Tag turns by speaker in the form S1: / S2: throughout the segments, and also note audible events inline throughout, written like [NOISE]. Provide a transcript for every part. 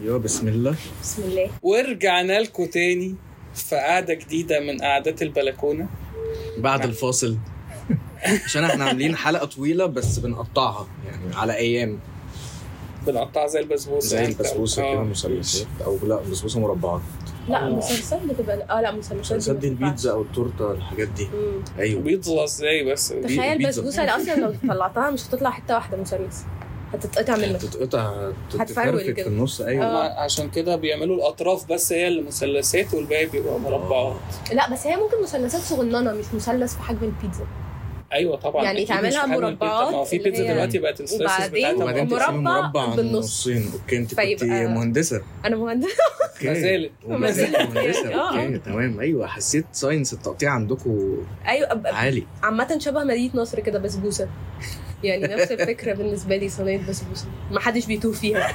S1: ايوه بسم الله
S2: بسم الله
S3: ورجعنا لكم تاني في قعدة جديدة من قعدات البلكونة
S1: بعد
S2: يعني.
S1: الفاصل عشان احنا عاملين حلقه طويله بس بنقطعها يعني على ايام
S3: بنقطعها زي البسبوسة
S1: زي
S3: يعني.
S1: البسبوسه
S3: آه.
S2: اه.
S1: كده مثلثات او لا بسبوسه مربعات
S2: لا مسلسل بتبقى اه لا مسلسل
S1: مثلثات دي البيتزا او التورته الحاجات دي ايوه
S3: بيطلع ازاي بس
S2: تخيل
S1: البيتزا.
S2: بسبوسه اللي اصلا لو طلعتها مش هتطلع حته واحده مثلث هتتقطع منك
S1: تتقطع
S2: هتفرول
S1: تتفرفك
S2: كده.
S1: يعني في النص ايوه
S3: هما
S2: آه.
S3: عشان كده بيعملوا الاطراف بس هي اللي مثلثات والباقي بيبقى
S1: آه.
S3: مربعات
S2: لا بس هي ممكن مثلثات صغننه مش مثلث في حجم البيتزا
S3: ايوه طبعا
S2: يعني
S3: أكيد مش
S2: تعملها
S3: بحجم البيتزا.
S2: مربعات
S3: ما هو في
S2: اللي
S3: بيتزا
S2: هي-
S3: دلوقتي بقت السلايسز
S2: وبعدين-
S3: بتاعتها
S1: وبعدين
S3: مربعات.
S1: تقسمي
S2: مربع
S1: مربع
S2: بالنص.
S1: نصين اوكي انت كنت
S2: فيبقى-
S1: مهندسه
S2: انا [LAUGHS] مهندس
S1: اوكي
S3: ما زالت.
S2: ما
S1: وما
S2: زالت.
S1: زالت مهندسه
S2: آه.
S1: اوكي تمام ايوه حسيت ساينس التقطيع عندكم
S2: ايوه أب-
S1: عالي
S2: عامه شبه مدينه نصر كده بسبوسه يعني نفس الفكره بالنسبه لي صينيه بسبوسه ما حدش بيتوه فيها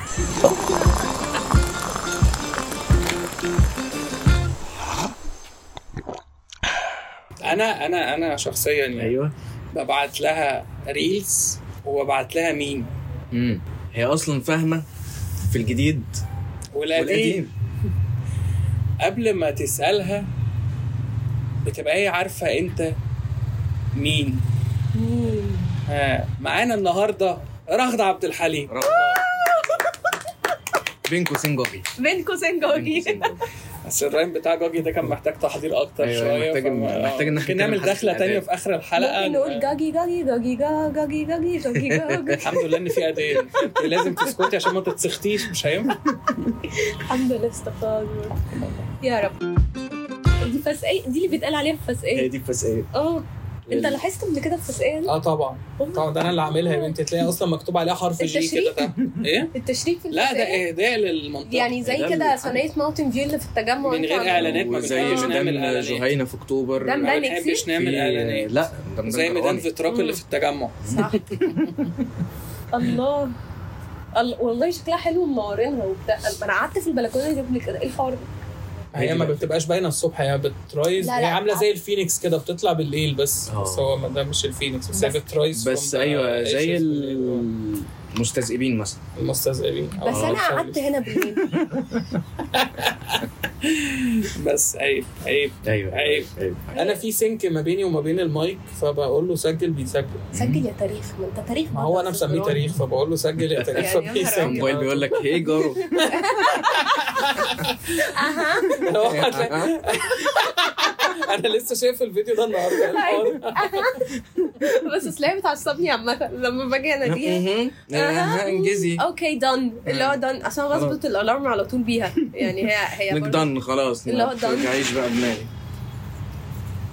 S3: انا انا انا شخصيا يعني
S1: ايوه
S3: ببعت لها ريلز وببعت لها مين
S1: امم هي اصلا فاهمه في الجديد
S3: والقديم
S1: والقديم
S3: قبل ما تسألها بتبقى هي عارفة أنت مين
S2: مم.
S3: ها، معانا النهاردة رغد عبد الحليم
S1: بين قوسين جوجي
S2: بين قوسين
S1: بين
S2: جوجي
S1: قوسين جوجي.
S3: بس الرايم بتاع جوجي ده كان محتاج تحضير أكتر
S1: أيوة،
S3: شوية
S1: محتاج-
S3: فما-
S1: محتاج إن إحنا
S3: ممكن نعمل
S1: نتكلم
S3: دخلة
S1: حتى
S3: تانية
S1: الأداب.
S3: في آخر الحلقة
S2: ممكن نقول جاجي جاجي جاجي جا- جاجي جاجي جاجي جاجي
S3: الحمد لله إن في أدين أنت [LAUGHS] لازم تسكتي عشان ما تتسختيش مش هينفع
S2: الحمد لله استغفر يا رب دي فسقية دي اللي بيتقال عليها
S1: هي
S3: إيه
S2: فسقية
S1: دي بس ايه
S2: اه انت لاحظت قبل كده إيه؟ الفسقية دي؟
S3: أه طبعا طبعا ده أنا اللي عاملها يا بنتي تلاقي أصلا مكتوب عليها حرف جي
S2: التشريح؟
S3: كده ده إيه؟
S2: التشريك في
S3: لا ده
S2: الفسقية؟
S3: إهداء للمنطقة
S2: يعني زي
S1: ده
S2: كده
S1: اللي-
S2: صينية ماونتن فيو اللي في التجمع
S3: من
S2: أنت
S3: غير
S2: عاملها.
S3: إعلانات ما
S1: وزي
S3: بنحبش نعمل
S1: ميدان
S3: إعلانات
S1: جهينه في اكتوبر
S2: ده
S3: ما
S2: ميدان
S3: بنحبش
S2: إكسي؟
S3: نعمل
S1: في-
S3: إعلانات
S1: لا ده ميدان
S3: زي ميدان
S1: كرواني.
S3: فيتراك اللي في التجمع
S2: صح الله ال- والله شكلها حلو ومنورينها وبتاع انا قعدت في البلكونه دي قبل كده ايه الحوار ده؟
S3: هي ما بتبقاش باينه الصبح هي بترايز
S2: لا،
S3: هي
S2: لا.
S3: عامله زي الفينيكس كده بتطلع بالليل بس
S1: آه.
S3: بس هو ما ده مش الفينيكس بس هي
S2: بس-
S3: بترايز
S1: بس
S3: from the
S1: ايوه
S3: ashes
S1: زي
S3: بالليل.
S1: المستذئبين مثلا
S3: المستذئبين اه، أو
S2: بس انا
S3: الشمس.
S2: قعدت هنا بالليل
S3: بس عيب عيب
S1: ايوه
S2: أيوة.
S3: عيب.
S1: ايوه
S3: انا في سينك ما بيني وما بين المايك فبقول له سجل بيسجل
S2: سجل يا تاريخ ما انت تاريخ
S3: ما
S2: بقى
S3: هو
S2: بتاع
S3: انا مسميه
S2: الفجران.
S3: تاريخ فبقول له
S1: [LAUGHS]
S3: سجل يا
S2: يعني
S3: تاريخ
S2: يا نهار أبيض.
S3: فبيسجل
S1: الموبايل بيقول
S3: [LAUGHS]
S1: لك هي
S3: أه،
S1: جارو
S3: لو
S1: إيه؟
S3: هتلاقي- انا لسه شايف الفيديو ده النهارده
S2: [LAUGHS]
S3: الحوار.
S2: أيوة. بس اصل هي بتعصبني عامه لما باجي
S3: [LAUGHS]
S2: اناديها
S1: مهم. أه،
S2: أها.
S1: أها، انجزي
S2: اوكي دن اللي هو دن اصل انا بظبط الالارم على طول بيها يعني هي هي
S1: لك
S2: برضه-
S1: دن خلاص
S2: اللي هو
S1: ما
S2: done.
S1: ترجعيش بقى دماغي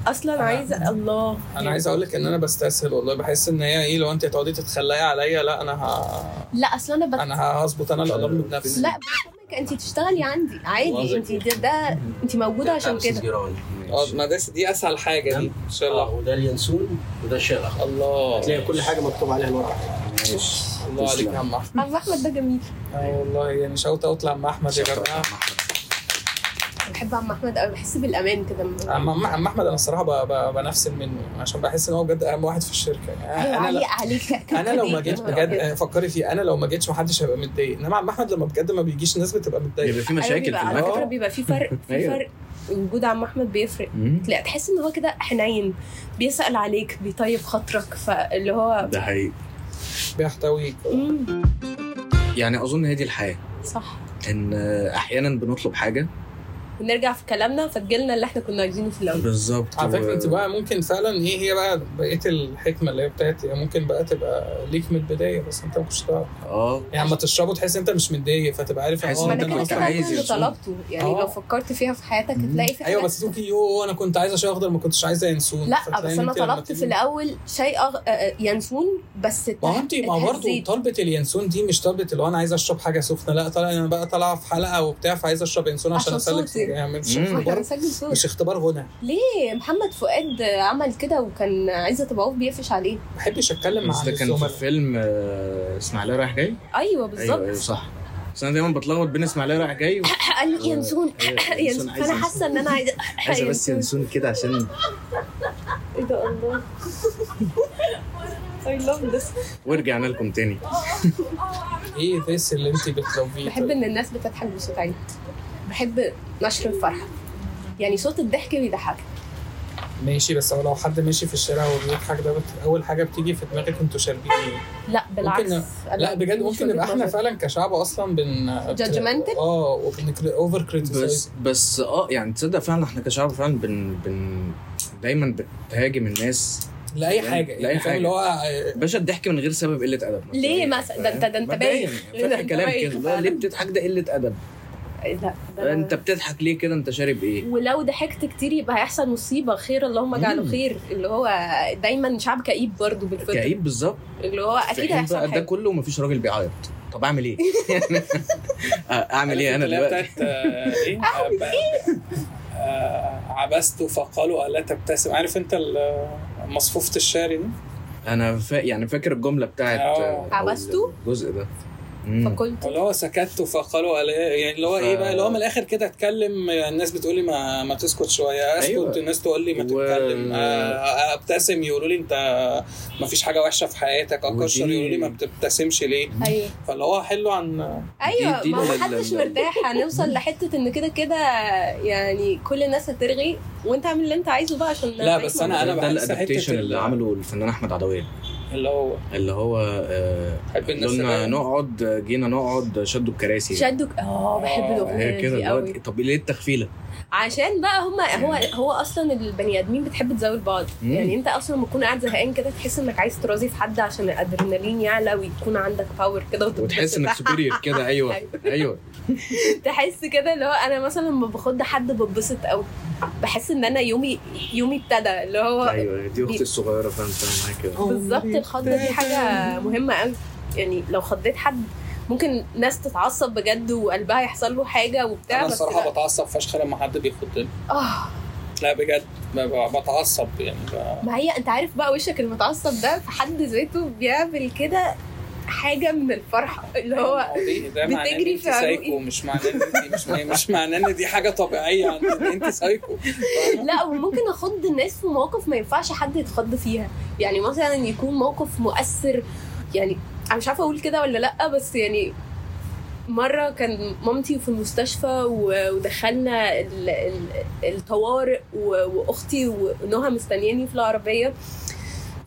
S2: اصلا عايزه الله
S3: انا عايز اقول لك ان انا بستسهل والله بحس ان هي ايه لو انت هتقعدي تتخلقي عليا لا انا ه...
S2: لا اصل انا بت...
S3: انا هظبط انا الالارم بنفسي
S2: لا بفهمك انت تشتغلي عندي عادي
S1: واثق.
S2: انت ده, ده انت موجوده عشان كده
S3: اه ما ده دي اسهل حاجه دي ان شاء
S4: اه
S3: الله
S4: وده اليانسون وده الشيرخ
S1: آه.
S3: الله
S4: هتلاقي كل حاجه مكتوب عليها الورقه
S3: الله عليك يا عم احمد
S2: عم احمد ده جميل
S3: اه والله يعني شوت اوت لعم احمد يا جماعه
S2: بحب عم احمد قوي بحس بالامان كده لما-
S3: عم عم- عم احمد انا الصراحه ب- ب- بنفسن منه عشان بحس ان هو بجد اهم واحد في الشركه يعني
S2: ايوه
S3: انا
S2: عليك
S3: لا-
S2: عليك كده
S3: انا لو
S2: كده.
S3: ما جيتش بجد آه، فكري فيه انا لو ما جيتش محدش هيبقى متضايق انما عم احمد لما بجد ما بيجيش الناس بتبقى متضايقه
S1: يبقى في
S2: أيوة
S1: مشاكل
S2: بيبقى
S1: في
S2: على
S3: المكتب.
S2: فكره بيبقى في فرق في
S1: أيوة.
S2: فرق وجود عم احمد بيفرق
S1: المكتب
S2: لا تحس ان هو كده حنين بيسأل عليك بيطيب خاطرك فاللي هو
S1: ده حقيقي
S3: بيحتويك
S2: مم،
S1: يعني اظن هي دي الحياه
S2: صح
S1: ان احيانا بنطلب حاجه
S2: ونرجع في كلامنا فتجيلنا اللي احنا كنا عايزينه في الاول
S1: بالظبط
S3: على
S1: و-
S3: فكره انت بقى ممكن فعلا ايه هي بقى بقيه الحكمه اللي هي بتاعت يعني ممكن بقى تبقى ليك من البدايه بس انت ما كنتش تعرف
S1: اه
S3: يعني اما تشربه تحس انت مش متضايق فتبقى عارف
S1: تحس
S3: اه
S2: ما
S1: إن
S3: ده
S2: انا
S1: أنت
S2: كده
S3: أنا
S1: كنت
S2: كده ده
S3: أصلاً
S1: عايز
S2: اللي
S1: يرسم.
S2: طلبته يعني
S3: آه.
S2: لو فكرت فيها في حياتك هتلاقي في
S3: ايوه
S2: حاجات
S3: بس تقولي يوه انا كنت عايزه شاي اخضر ما كنتش عايزه ينسون يعني
S2: لا
S3: فتلاقي
S2: بس
S3: إن
S2: انا
S3: أنت لما
S2: طلبت في
S3: تيجي-
S2: الاول شاي أغ... آه، آه، ينسون بس
S3: ما هو انت ما هو برضه طلبه اليانسون دي مش طلبه اللي هو انا عايزه اشرب حاجه سخنه لا طالع انا بقى طالعه في حلقه وبتاع فعايزه اشرب يانسون عشان
S2: عشان
S3: اسلك
S2: صوتي.
S3: يعني مش
S1: مم.
S2: احنا
S3: اختبار
S2: بنسجل صوت
S3: مش اختبار غنى
S2: ليه محمد فؤاد عمل كده وكان عايزه تبقى عوف بيقفش عليه
S3: ما بحبش اتكلم مع
S1: بس ده كان
S3: الزملاء.
S1: في فيلم آه، اسماعيليه رايح جاي
S3: أيوة،
S2: ايوه
S1: ايوه ايوه
S2: بالظبط
S1: صح بس انا دايما بتلخبط بين اسماعيليه رايح جاي
S2: [LAUGHS]
S1: و-
S2: قال لي ينسون
S1: أيوة،
S2: [LAUGHS] ينسون
S1: ينسون،
S2: فانا
S1: عايزة
S2: حاسه ان انا عايزه
S1: عايزه
S2: إيه
S1: بس ينسون كده عشان
S2: [LAUGHS] ايه ده الله اي لاف ذس
S1: ورجعنا لكم تاني
S3: ايه ذس اللي انت بتربيه
S2: بحب
S3: طيب؟
S2: ان الناس بتضحك بصوت عالي بحب نشر الفرحه يعني صوت الضحك بيضحك
S3: ماشي بس هو لو حد ماشي في الشارع وبيضحك ده بت- اول حاجه بتيجي في دماغك انتوا شاربين ايه
S2: لا بالعكس أنا
S3: لا بجد
S2: دي مش
S3: ممكن نبقى
S2: وجهة
S3: احنا
S2: نظري.
S3: فعلا كشعب اصلا بن
S2: Judgmental؟
S3: اه اوفر كريتيسايز
S1: بس
S2: طيب.
S1: بس اه يعني تصدق فعلا احنا كشعب فعلا بن بن دايما بتهاجم الناس
S3: لاي
S1: لا-
S3: حاجه
S1: لأي
S3: يعني فاهم
S1: حاجة.
S3: اللي هو
S1: باشا الضحك من غير سبب قله ادب مثلاً.
S2: ليه مثلا؟ ده أنت- ده أنت
S1: فاهم؟
S2: باين.
S1: مبدئياً،
S2: ده
S1: فتح
S2: أنت
S1: كلام
S2: باين
S1: كده
S2: فعلاً.
S1: لا، ليه بتضحك ده قله ادب
S2: إيه، لا ده
S1: انت بتضحك ليه كده انت شارب ايه
S2: ولو ضحكت كتير يبقى هيحصل مصيبه خير اللهم اجعله
S1: مم.
S2: خير اللي هو دايما شعب كئيب برضه بالفطره
S1: كئيب بالظبط
S2: اللي هو
S1: في حين
S2: اكيد
S1: بقى
S2: آه، هيحصل
S1: ده
S2: حاجه
S1: كله ومفيش راجل بيعيط طب اعمل [LAUGHS]
S2: [LAUGHS]
S1: ايه آه، اعمل ايه انا
S3: اللي هي
S1: دلوقتي
S3: بتاعت آه، ايه عب- آه، عبست فقالوا الا تبتسم عارف انت ال- مصفوفه الشعر دي
S1: انا فا... يعني فاكر الجمله بتاعت
S3: آه.
S1: آه،
S2: عبستو؟
S1: الجزء ده مم.
S2: فكنت
S3: اللي هو سكت فقالوا ألا إيه؟ يعني اللي هو
S1: ف-
S3: ايه بقى اللي هو من الاخر كده اتكلم الناس بتقول لي ما ما تسكت شويه اسكت
S1: أيوة.
S3: الناس تقول لي ما
S1: و-
S3: تتكلم آه، آه، ابتسم يقولوا لي انت ما فيش حاجه وحشه في حياتك اكشر
S1: ودي-
S3: يقولوا لي ما بتبتسمش ليه
S2: ايوه
S3: فاللي هو حلو عن
S2: ايوه
S1: دي- دي
S2: ما هو
S1: ال-
S2: محدش
S1: ال-
S2: مرتاح هنوصل لحته ان كده كده يعني كل الناس هترغي وانت اعمل اللي انت عايزه بقى عشان
S3: لا، بس أنا- أنا
S1: ده
S3: بحس
S1: الادابتيشن
S3: حتة
S1: اللي
S3: ال-
S1: عمله الفنان احمد عدويه
S3: اللي هو
S1: اللي هو آه،
S3: حب الناس
S1: قلنا
S3: تبقى-
S1: نقعد جينا نقعد شدوا الكراسي
S2: شدك اه بحب
S3: آه،
S1: هي
S2: الاغنيه
S1: كده
S2: دي
S1: اللي
S2: قوي
S1: هو إيه، طب ليه التخفيله؟
S2: عشان بقى هما هو هو اصلا البني ادمين بتحب تزاول بعض
S1: مم.
S2: يعني انت اصلا لما تكون قاعد زهقان كده تحس انك عايز ترازي في حد عشان الادرينالين يعلى ويكون عندك باور كده وتتبسط.
S1: وتحس انك سوبيريور كده ايوه ايوه
S2: تحس كده اللي هو انا مثلا لما باخد حد بتبسط قوي بحس ان انا يومي يومي ابتدى اللي هو
S1: ايوه دي اختي الصغيره فانت معايا كده
S2: بالظبط الخضه دي حاجه مهمه قوي يعني لو خضيت حد ممكن ناس تتعصب بجد وقلبها يحصل له حاجه وبتاع
S3: انا
S2: بس
S3: الصراحه
S2: لا.
S3: بتعصب فشخ لما حد بيخضني
S2: اه
S3: لا بجد ب- ب- بتعصب يعني ب-
S2: ما هي انت عارف بقى وشك المتعصب ده في حد ذاته بيعمل كده حاجه من الفرحه اللي هو
S3: دي- ده معناه ان
S2: بتجري
S3: انت
S2: في عروقي.
S3: سايكو مش معناه ان انت مش مش معناه ان دي حاجه طبيعيه عند ان انت سايكو فاهمة؟
S2: لا وممكن اخض الناس في مواقف ما ينفعش حد يتخض فيها يعني مثلا يكون موقف مؤثر يعني انا مش عارفه اقول كده ولا لا بس يعني مره كان مامتي في المستشفى و- ودخلنا ال- ال- الطوارئ و- واختي ونهى مستنياني في العربيه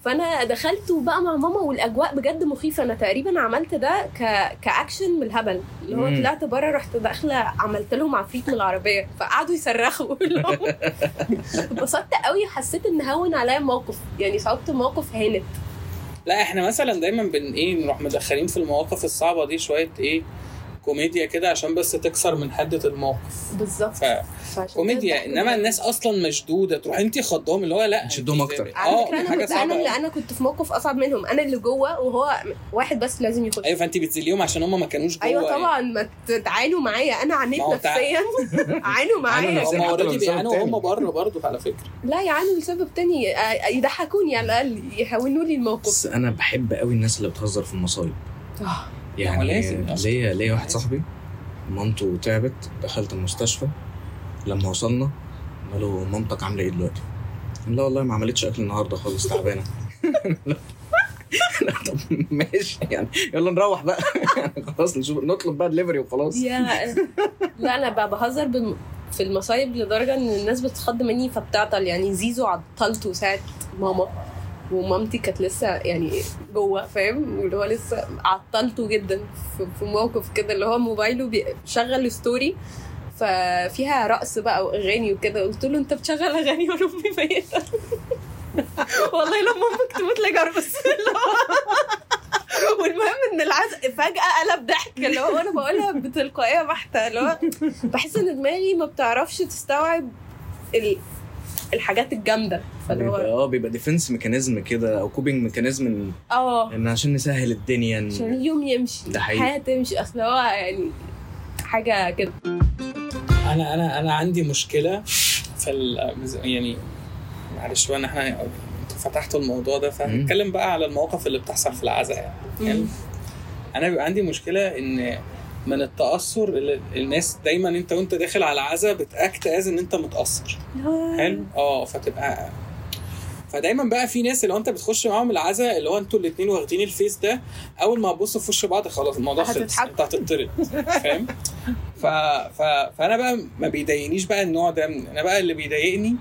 S2: فانا دخلت وبقى مع ماما والاجواء بجد مخيفه انا تقريبا عملت ده ك... كاكشن من الهبل اللي هو
S1: مم.
S2: طلعت بره رحت داخله عملت لهم عفريت من العربيه فقعدوا يصرخوا [LAUGHS] اللي هو اتبسطت قوي حسيت ان هون عليا موقف يعني صعوبت موقف هانت
S3: لا احنا مثلا دايما بن ايه نروح مدخلين في المواقف الصعبه دي شويه ايه كوميديا كده عشان بس تكسر من حده الموقف
S2: بالظبط فعشان كده
S3: فكوميديا
S2: الضحك
S3: انما
S2: بجد.
S3: الناس اصلا مشدوده تروح انت خضهم اللي هو لا
S1: شدهم
S3: انت-
S1: أكتر.
S2: على
S3: اه
S2: فكره
S3: دي
S2: انا
S3: حاجه
S2: كنت انا اللي
S3: صعبه
S2: انا كنت في موقف اصعب منهم انا اللي جوه وهو واحد بس لازم يخش
S3: ايوه فانت بتذليهم عشان هم ما كانوش جوه
S2: ايوه
S3: يعني.
S2: طبعا ما ت- تعانوا معايا انا عانيت
S3: ما هو تع- [LAUGHS]
S2: نفسيا عانوا معايا
S1: نفسياً.
S3: هم
S1: حتى لو
S3: اوريدي
S1: لسبب
S3: بيعانوا
S1: تاني.
S3: هم بره برضه على فكره
S2: لا يعانوا لسبب تاني آه، يضحكوني على الاقل يهونوا لي الموقف
S1: بس انا بحب قوي الناس اللي بتهزر في المصايب
S2: آه،
S1: يعني
S3: لازم أصلاً.
S1: ليا ليا واحد صاحبي مامته تعبت دخلت المستشفى لما وصلنا قالوا مامتك عامله ايه دلوقتي؟ قال لا والله ما عملتش اكل النهارده خالص تعبانه لا [LAUGHS] طب ماشي يعني يلا نروح بقى [LAUGHS] خلاص نشوف نطلب بقى دليفري وخلاص
S2: يا لا انا بقى بهزر بم... في المصايب لدرجه ان الناس بتتخض مني فبتعطل يعني زيزو عطلته ساعه ماما ومامتي كانت لسه يعني جوه فاهم اللي هو لسه عطلته جدا في- في موقف كده اللي هو موبايله بيشغل ستوري ففيها رقص بقى واغاني وكده قلت له انت بتشغل اغاني وانا امي ميته [LAUGHS] والله لما امك تموت لي جربس اللي هو- [LAUGHS] والمهم ان العزق فجاه قلب ضحك اللي هو انا بقولها بتلقائيه بحته اللي هو بحس ان دماغي ما بتعرفش تستوعب ال... الحاجات الجامده [LAUGHS] فاللي
S1: بيبقى-
S2: هو
S1: اه بيبقى ديفنس ميكانيزم كده او كوبينج ميكانيزم
S2: اه
S1: ان عشان نسهل الدنيا إن-
S2: عشان اليوم يمشي
S1: ده حقيقي.
S2: الحياه تمشي اصل هو يعني حاجه كده
S3: انا انا انا عندي مشكله في ال- يعني معلش بقى ان احنا انتوا فتحتوا الموضوع ده فهنتكلم بقى على المواقف اللي بتحصل في العزاء يعني. يعني
S2: مم.
S3: انا بيبقى عندي مشكله ان من التاثر اللي الناس دايما انت وانت داخل على عزاء بتاكت از ان انت متاثر حلو اه فتبقى فدايما بقى في ناس اللي هو انت بتخش معاهم العزاء اللي هو انتوا الاثنين واخدين الفيس ده اول ما هتبصوا في وش بعض خلاص الموضوع خلص
S2: هتتحب.
S3: انت هتطرد فاهم ف... ف... فانا بقى ما بيضايقنيش بقى النوع ده من... انا بقى اللي بيضايقني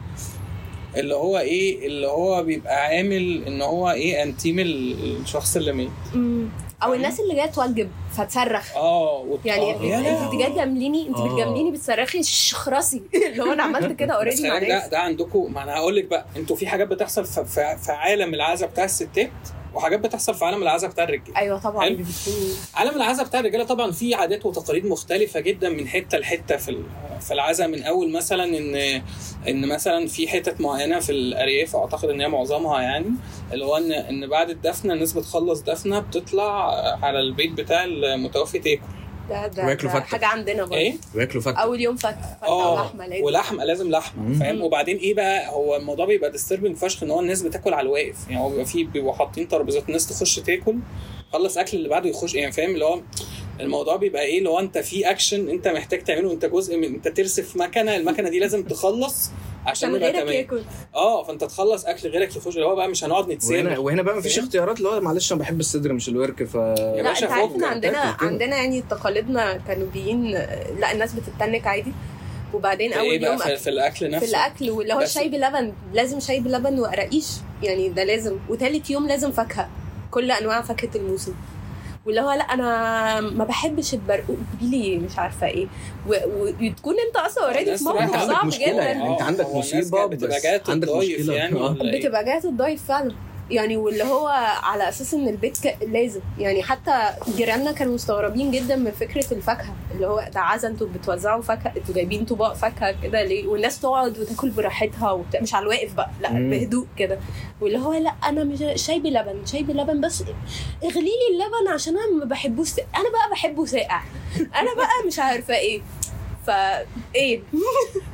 S3: اللي هو ايه اللي هو بيبقى عامل ان هو ايه انتيم ال- الشخص اللي مات
S2: مم.
S1: طيب.
S2: او الناس اللي جايه توجب فتصرخ
S3: اه وت-
S2: يعني
S3: آه، يا لهوي.
S2: انت جايه تجامليني انت
S1: آه.
S2: بتجامليني بتصرخي [LAUGHS] شخرسي اللي هو انا عملت كده
S3: بس
S2: اوريدي مع
S3: خلي بالك ده
S2: ناس
S3: ده عندكم ما انا هقول لك بقى انتوا في حاجات بتحصل في, في, في عالم العزاء بتاع الستات وحاجات بتحصل في عالم العزاء بتاع الرجاله
S2: ايوه طبعا
S3: حلو.
S2: بتكون-
S3: عالم العزاء بتاع الرجاله طبعا فيه عادات وتقاليد مختلفه جدا من حته لحته في ال- في العزاء من اول مثلا ان ان مثلا في حتت معينه في الارياف اعتقد ان هي معظمها يعني اللي هو ان ان بعد الدفنه الناس بتخلص دفنه بتطلع على البيت بتاع المتوفي تاكل
S2: ده ده,
S1: وياكلوا
S2: ده
S1: فتة.
S2: حاجه عندنا برضه
S3: ايه
S1: وياكلوا فتة
S2: اول يوم فتة فتة
S3: آه،
S2: ولحمه لازم
S3: ولحمه لازم لحمه
S1: مم.
S3: فاهم وبعدين ايه بقى هو الموضوع بيبقى ديستربنج فشخ ان هو الناس بتاكل على الواقف يعني هو بيبقى فيه بيبقوا حاطين ترابيزات الناس تخش تاكل خلص اكل اللي بعده يخش يعني فاهم اللي هو الموضوع بيبقى ايه لو انت في اكشن انت محتاج تعمله انت جزء من انت ترسف مكنه المكنه دي لازم تخلص عشان
S2: عشان
S3: نبقى
S2: غيرك
S3: تمام
S2: ياكل
S3: اه فانت تخلص اكل غيرك يخش اللي هو بقى مش هنقعد
S1: وهنا
S3: نتسابق
S1: وهنا بقى
S2: [LAUGHS]
S1: مفيش اختيارات لا معلش انا بحب الصدر مش الورك ف
S2: لا
S3: يا باشا
S2: انت عارف
S3: فوق.
S2: ان عندنا
S1: تاكل كده.
S2: عندنا يعني تقاليدنا كنوبيين لا الناس بتتنك عادي وبعدين
S3: في ايه
S2: اول
S3: بقى
S2: يوم
S3: في, في الاكل
S2: في
S3: نفسه
S2: الاكل واللي هو
S3: بس-
S2: الشاي بلبن لازم شاي بلبن وقراقيش يعني ده لازم وتالت يوم لازم فاكهه كل انواع فاكهه الموسم واللي هو لا انا ما بحبش البرقوق بيلي مش عارفه ايه و- و- وتكون انت اصلا اوريدي
S3: الناس
S2: في
S3: طبعاً
S1: انت
S2: موقف
S3: عندك
S2: صعب
S1: مشكله يعني
S2: جدا
S1: انت
S3: آه،
S1: عندك
S3: هو الناس
S1: مصيبه
S3: كانت بتبقى جايه
S1: بس عندك
S3: تضايف
S1: مشكله
S3: يعني
S1: آه.
S3: ولا إيه؟
S2: بتبقى جايه تضايف فعلا يعني واللي هو على اساس ان البيت ك... لازم يعني حتى جيراننا كانوا مستغربين جدا من فكره الفاكهه اللي هو ده عزا انتوا بتوزعوا فاكهه انتوا جايبين طباق فاكهه كده ليه والناس تقعد وتاكل براحتها وبتاع مش على الواقف بقى لا
S1: مم.
S2: بهدوء كده واللي هو لا انا مش شاي بلبن شاي بلبن بس اغلي لي اللبن عشان انا ما بحبوش ساقع. انا بقى بحبه ساقع انا بقى مش عارفه ايه فا ايه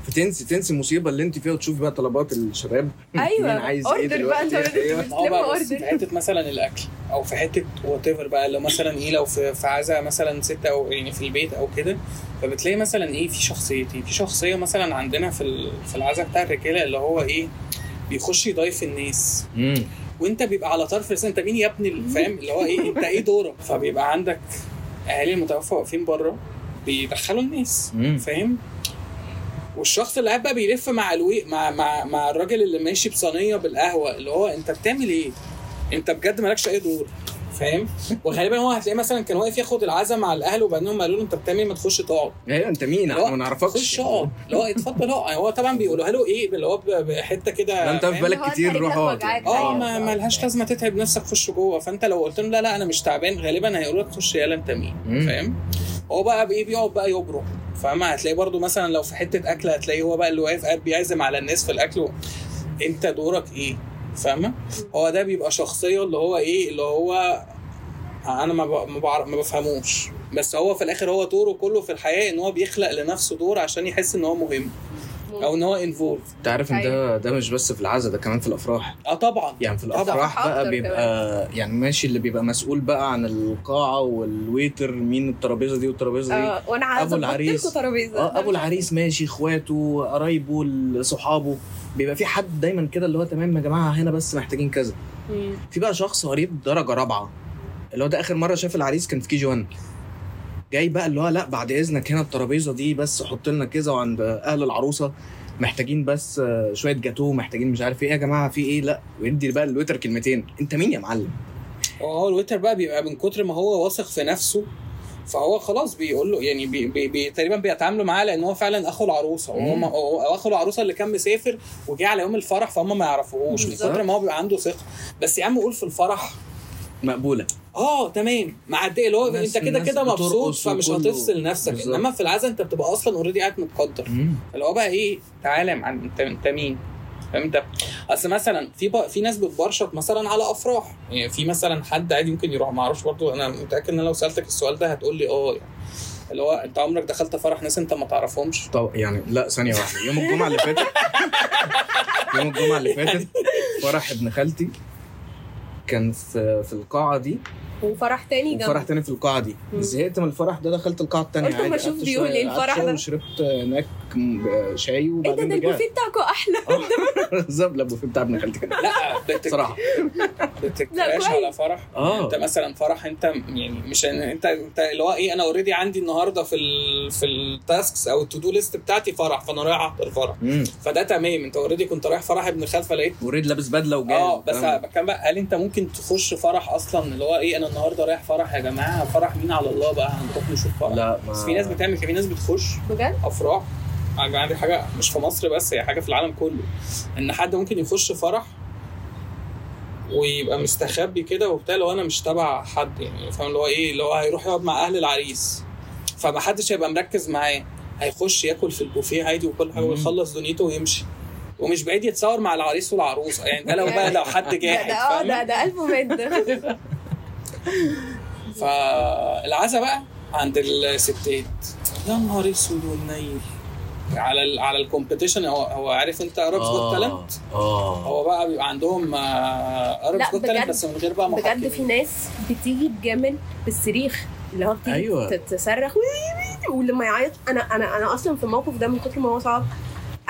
S1: فتنسي تنسي المصيبه اللي انت فيها وتشوفي بقى طلبات الشباب
S2: ايوه
S1: [LAUGHS] مين عايز ايه
S2: اوردر بقى انت
S1: دلوقتي
S2: بتلم
S1: ايوه
S3: اه بقى بس في
S2: اوردر
S3: حته مثلا الاكل او في حته وات ايفر بقى لو مثلا ايه لو في في عزا مثلا ست او يعني في البيت او كده فبتلاقي مثلا ايه في شخصيتين في شخصيه مثلا عندنا في ال- في العزا بتاع الرجاله اللي هو ايه بيخش يضايف الناس
S1: مم.
S3: وانت بيبقى على طرف لسان انت مين يا ابني اللي فاهم اللي هو ايه انت ايه دورك [LAUGHS] فبيبقى عندك اهالي المتوفى واقفين بره بيدخلوا الناس
S1: مم.
S3: فاهم والشخص اللي قاعد بقى بيلف مع الوي مع مع مع الراجل اللي ماشي بصينيه بالقهوه اللي هو انت بتعمل ايه؟ انت بجد مالكش اي دور فاهم؟ وغالبا هو هتلاقيه مثلا كان واقف ياخد العزا مع الاهل وبعدين قالوا له انت بتعمل ايه ما تخش تقعد
S1: ايوه انت
S2: أه،
S1: مين
S3: لا،
S1: احنا ما نعرفكش
S3: خش اقعد اللي هو اتفضل اقعد يعني هو طبعا بيقولوها له ايه اللي هو ب- بحته كده
S1: لا انت في
S3: فاهم؟
S1: بالك
S2: هو انت
S1: كتير
S2: رجلك
S1: روح اقعد أه.
S2: وجعاك.
S3: اه
S2: أيوة.
S3: ما ما لهاش لازمه تتعب نفسك خش جوه فانت لو قلت لهم لا لا انا مش تعبان غالبا هيقولوا لك خش يالا انت مين
S1: مم.
S3: فاهم هو بقى بايه بيقعد بقى يبرق فاهم هتلاقيه برضو مثلا لو في حته اكل هتلاقيه هو بقى اللي واقف قاعد بيعزم على الناس في الاكل و... انت دورك ايه فاهمه هو ده بيبقى شخصيه اللي هو ايه اللي هو انا ما ب- ما بعرف ما بفهموش بس هو في الاخر هو دوره كله في الحياه ان هو بيخلق لنفسه دور عشان يحس ان هو مهم او ان هو انفولف
S1: انت عارف ان ده
S2: أيوة.
S1: ده مش بس في العزا ده كمان في الافراح
S3: اه طبعا
S1: يعني في
S3: طبعا.
S1: الافراح
S2: أكتر
S1: بقى بيبقى يعني ماشي اللي بيبقى مسؤول بقى عن القاعه والويتر مين الترابيزه دي والترابيزه دي
S2: اه وانا عايزه
S1: أبو
S2: أظبط
S1: العريس.
S2: لكم ترابيزه
S1: اه ابو العريس ماشي اخواته قرايبه ال- صحابه بيبقى في حد دايما كده اللي هو تمام يا جماعه هنا بس محتاجين كذا
S2: مم.
S1: في بقى شخص قريب درجه رابعه اللي هو ده اخر مره شاف العريس كان في كي جي 1 جاي بقى اللي هو لا بعد اذنك هنا الترابيزه دي بس حط لنا كذا وعند اهل العروسه محتاجين بس آه، شويه جاتوه محتاجين مش عارف ايه يا جماعه في ايه لا ويدي بقى الويتر كلمتين انت مين يا معلم
S3: وهو اه، الويتر بقى بيبقى من كتر ما هو واثق في نفسه فهو خلاص بيقول له يعني بي بي بي تقريبا بيتعاملوا معاه لان هو فعلا اخو العروسه وهو
S1: مم.
S3: ما- هو هو اخو العروسه اللي كان مسافر وجه على يوم الفرح فهم ما يعرفوهوش من
S1: بالظبط.
S3: كتر ما هو بيبقى عنده ثقه بس يا عم قول في الفرح
S1: مقبوله
S3: اه تمام معدي اللي هو
S1: الناس-
S3: انت كده
S1: الناس
S3: كده مبسوط
S1: بترقص
S3: فمش
S1: وكله-
S3: هتفصل نفسك
S1: بالظبط.
S3: انما في العزا انت بتبقى اصلا اوريدي قاعد متقدر اللي هو بقى ايه تعالى يا معلم انت انت مين فاهم انت اصل مثلا في بقى في ناس بتبرشط مثلا على افراح يعني في مثلا حد عادي ممكن يروح ما اعرفش برضه انا متاكد ان انا لو سالتك السؤال ده هتقول لي اه يعني اللي هو انت عمرك دخلت فرح ناس انت ما تعرفهمش
S1: طب يعني لا ثانيه واحده يوم الجمعه اللي فاتت يوم الجمعه اللي فاتت فرح ابن خالتي كان في في القاعه دي
S2: وفرح تاني جنب
S1: وفرح تاني في القاعه دي
S2: مم.
S1: زهقت من الفرح ده دخلت القاعه التانيه
S2: قلت أما
S1: عادي،
S2: أشوف
S1: قعدت
S2: بيقول
S1: شوية،
S2: إيه الفرح
S1: قعدت شوية
S2: ده.
S1: وشربت هناك م- شاي
S2: ايه ده
S1: وبعدين
S2: ده
S1: رجعت آه.
S2: البوفيه بتاعكم احلى
S1: [LAUGHS] بالظبط لا البوفيه بتاع ابن خالتي كان
S3: لا بتك...
S1: صراحه
S3: بتكراش
S2: لا، كويس.
S3: على فرح
S1: اه
S3: انت مثلا فرح انت يعني مش انت انت اللي هو ايه انا اوريدي عندي النهارده في ال... في التاسكس او التو دو ليست بتاعتي فرح فانا رايح احضر فرح
S1: امم
S3: فده تمام انت اوريدي كنت رايح فرح ابن خال فلقيت
S1: وريد لابس بدله وجاي
S3: اه بس
S1: والكلام ده.
S3: بتكلم بقى هل انت ممكن تخش فرح اصلا اللي هو ايه انا النهارده رايح فرح يا جماعه فرح مين على الله بقى هنروح نشوف فرح
S1: لا ما
S3: بس في ناس بتعمل كده في ناس بتخش
S2: بجد
S3: افراح يا جماعه دي حاجه مش في مصر بس هي حاجه في العالم كله ان حد ممكن يخش فرح ويبقى مستخبي كده وبتاع اللي هو انا مش تبع حد يعني فاهم اللي هو ايه اللي هو هيروح يقعد مع اهل العريس فمحدش هيبقى مركز معاه هيخش ياكل في البوفيه عادي وكل حاجه
S1: مم.
S3: ويخلص دنيته ويمشي ومش بعيد يتصور مع العريس والعروسه يعني ده لو
S2: [LAUGHS]
S3: بقى لو حد
S2: ده
S3: جاحد
S2: ده اه ده
S3: فاهم
S2: ده قلبه مات ده
S1: [LAUGHS]
S3: فالعزا بقى عند الستات يا نهار اسود والنيل على ال على الكومبيتيشن هو هو عارف انت اربس جوت تالنت
S1: اه
S3: هو بقى بيبقى عندهم آه، اربس
S2: لا،
S3: جوت تالنت
S2: بجد-
S3: بس من غير بقى
S2: بجد في
S3: محاكمين
S2: ناس بتيجي تجامل بالصريخ اللي هو بتيجي
S1: أيوة.
S2: أيوة. تتصرخ وي- وي- ولما يعيط انا انا انا اصلا في الموقف ده من كتر ما هو صعب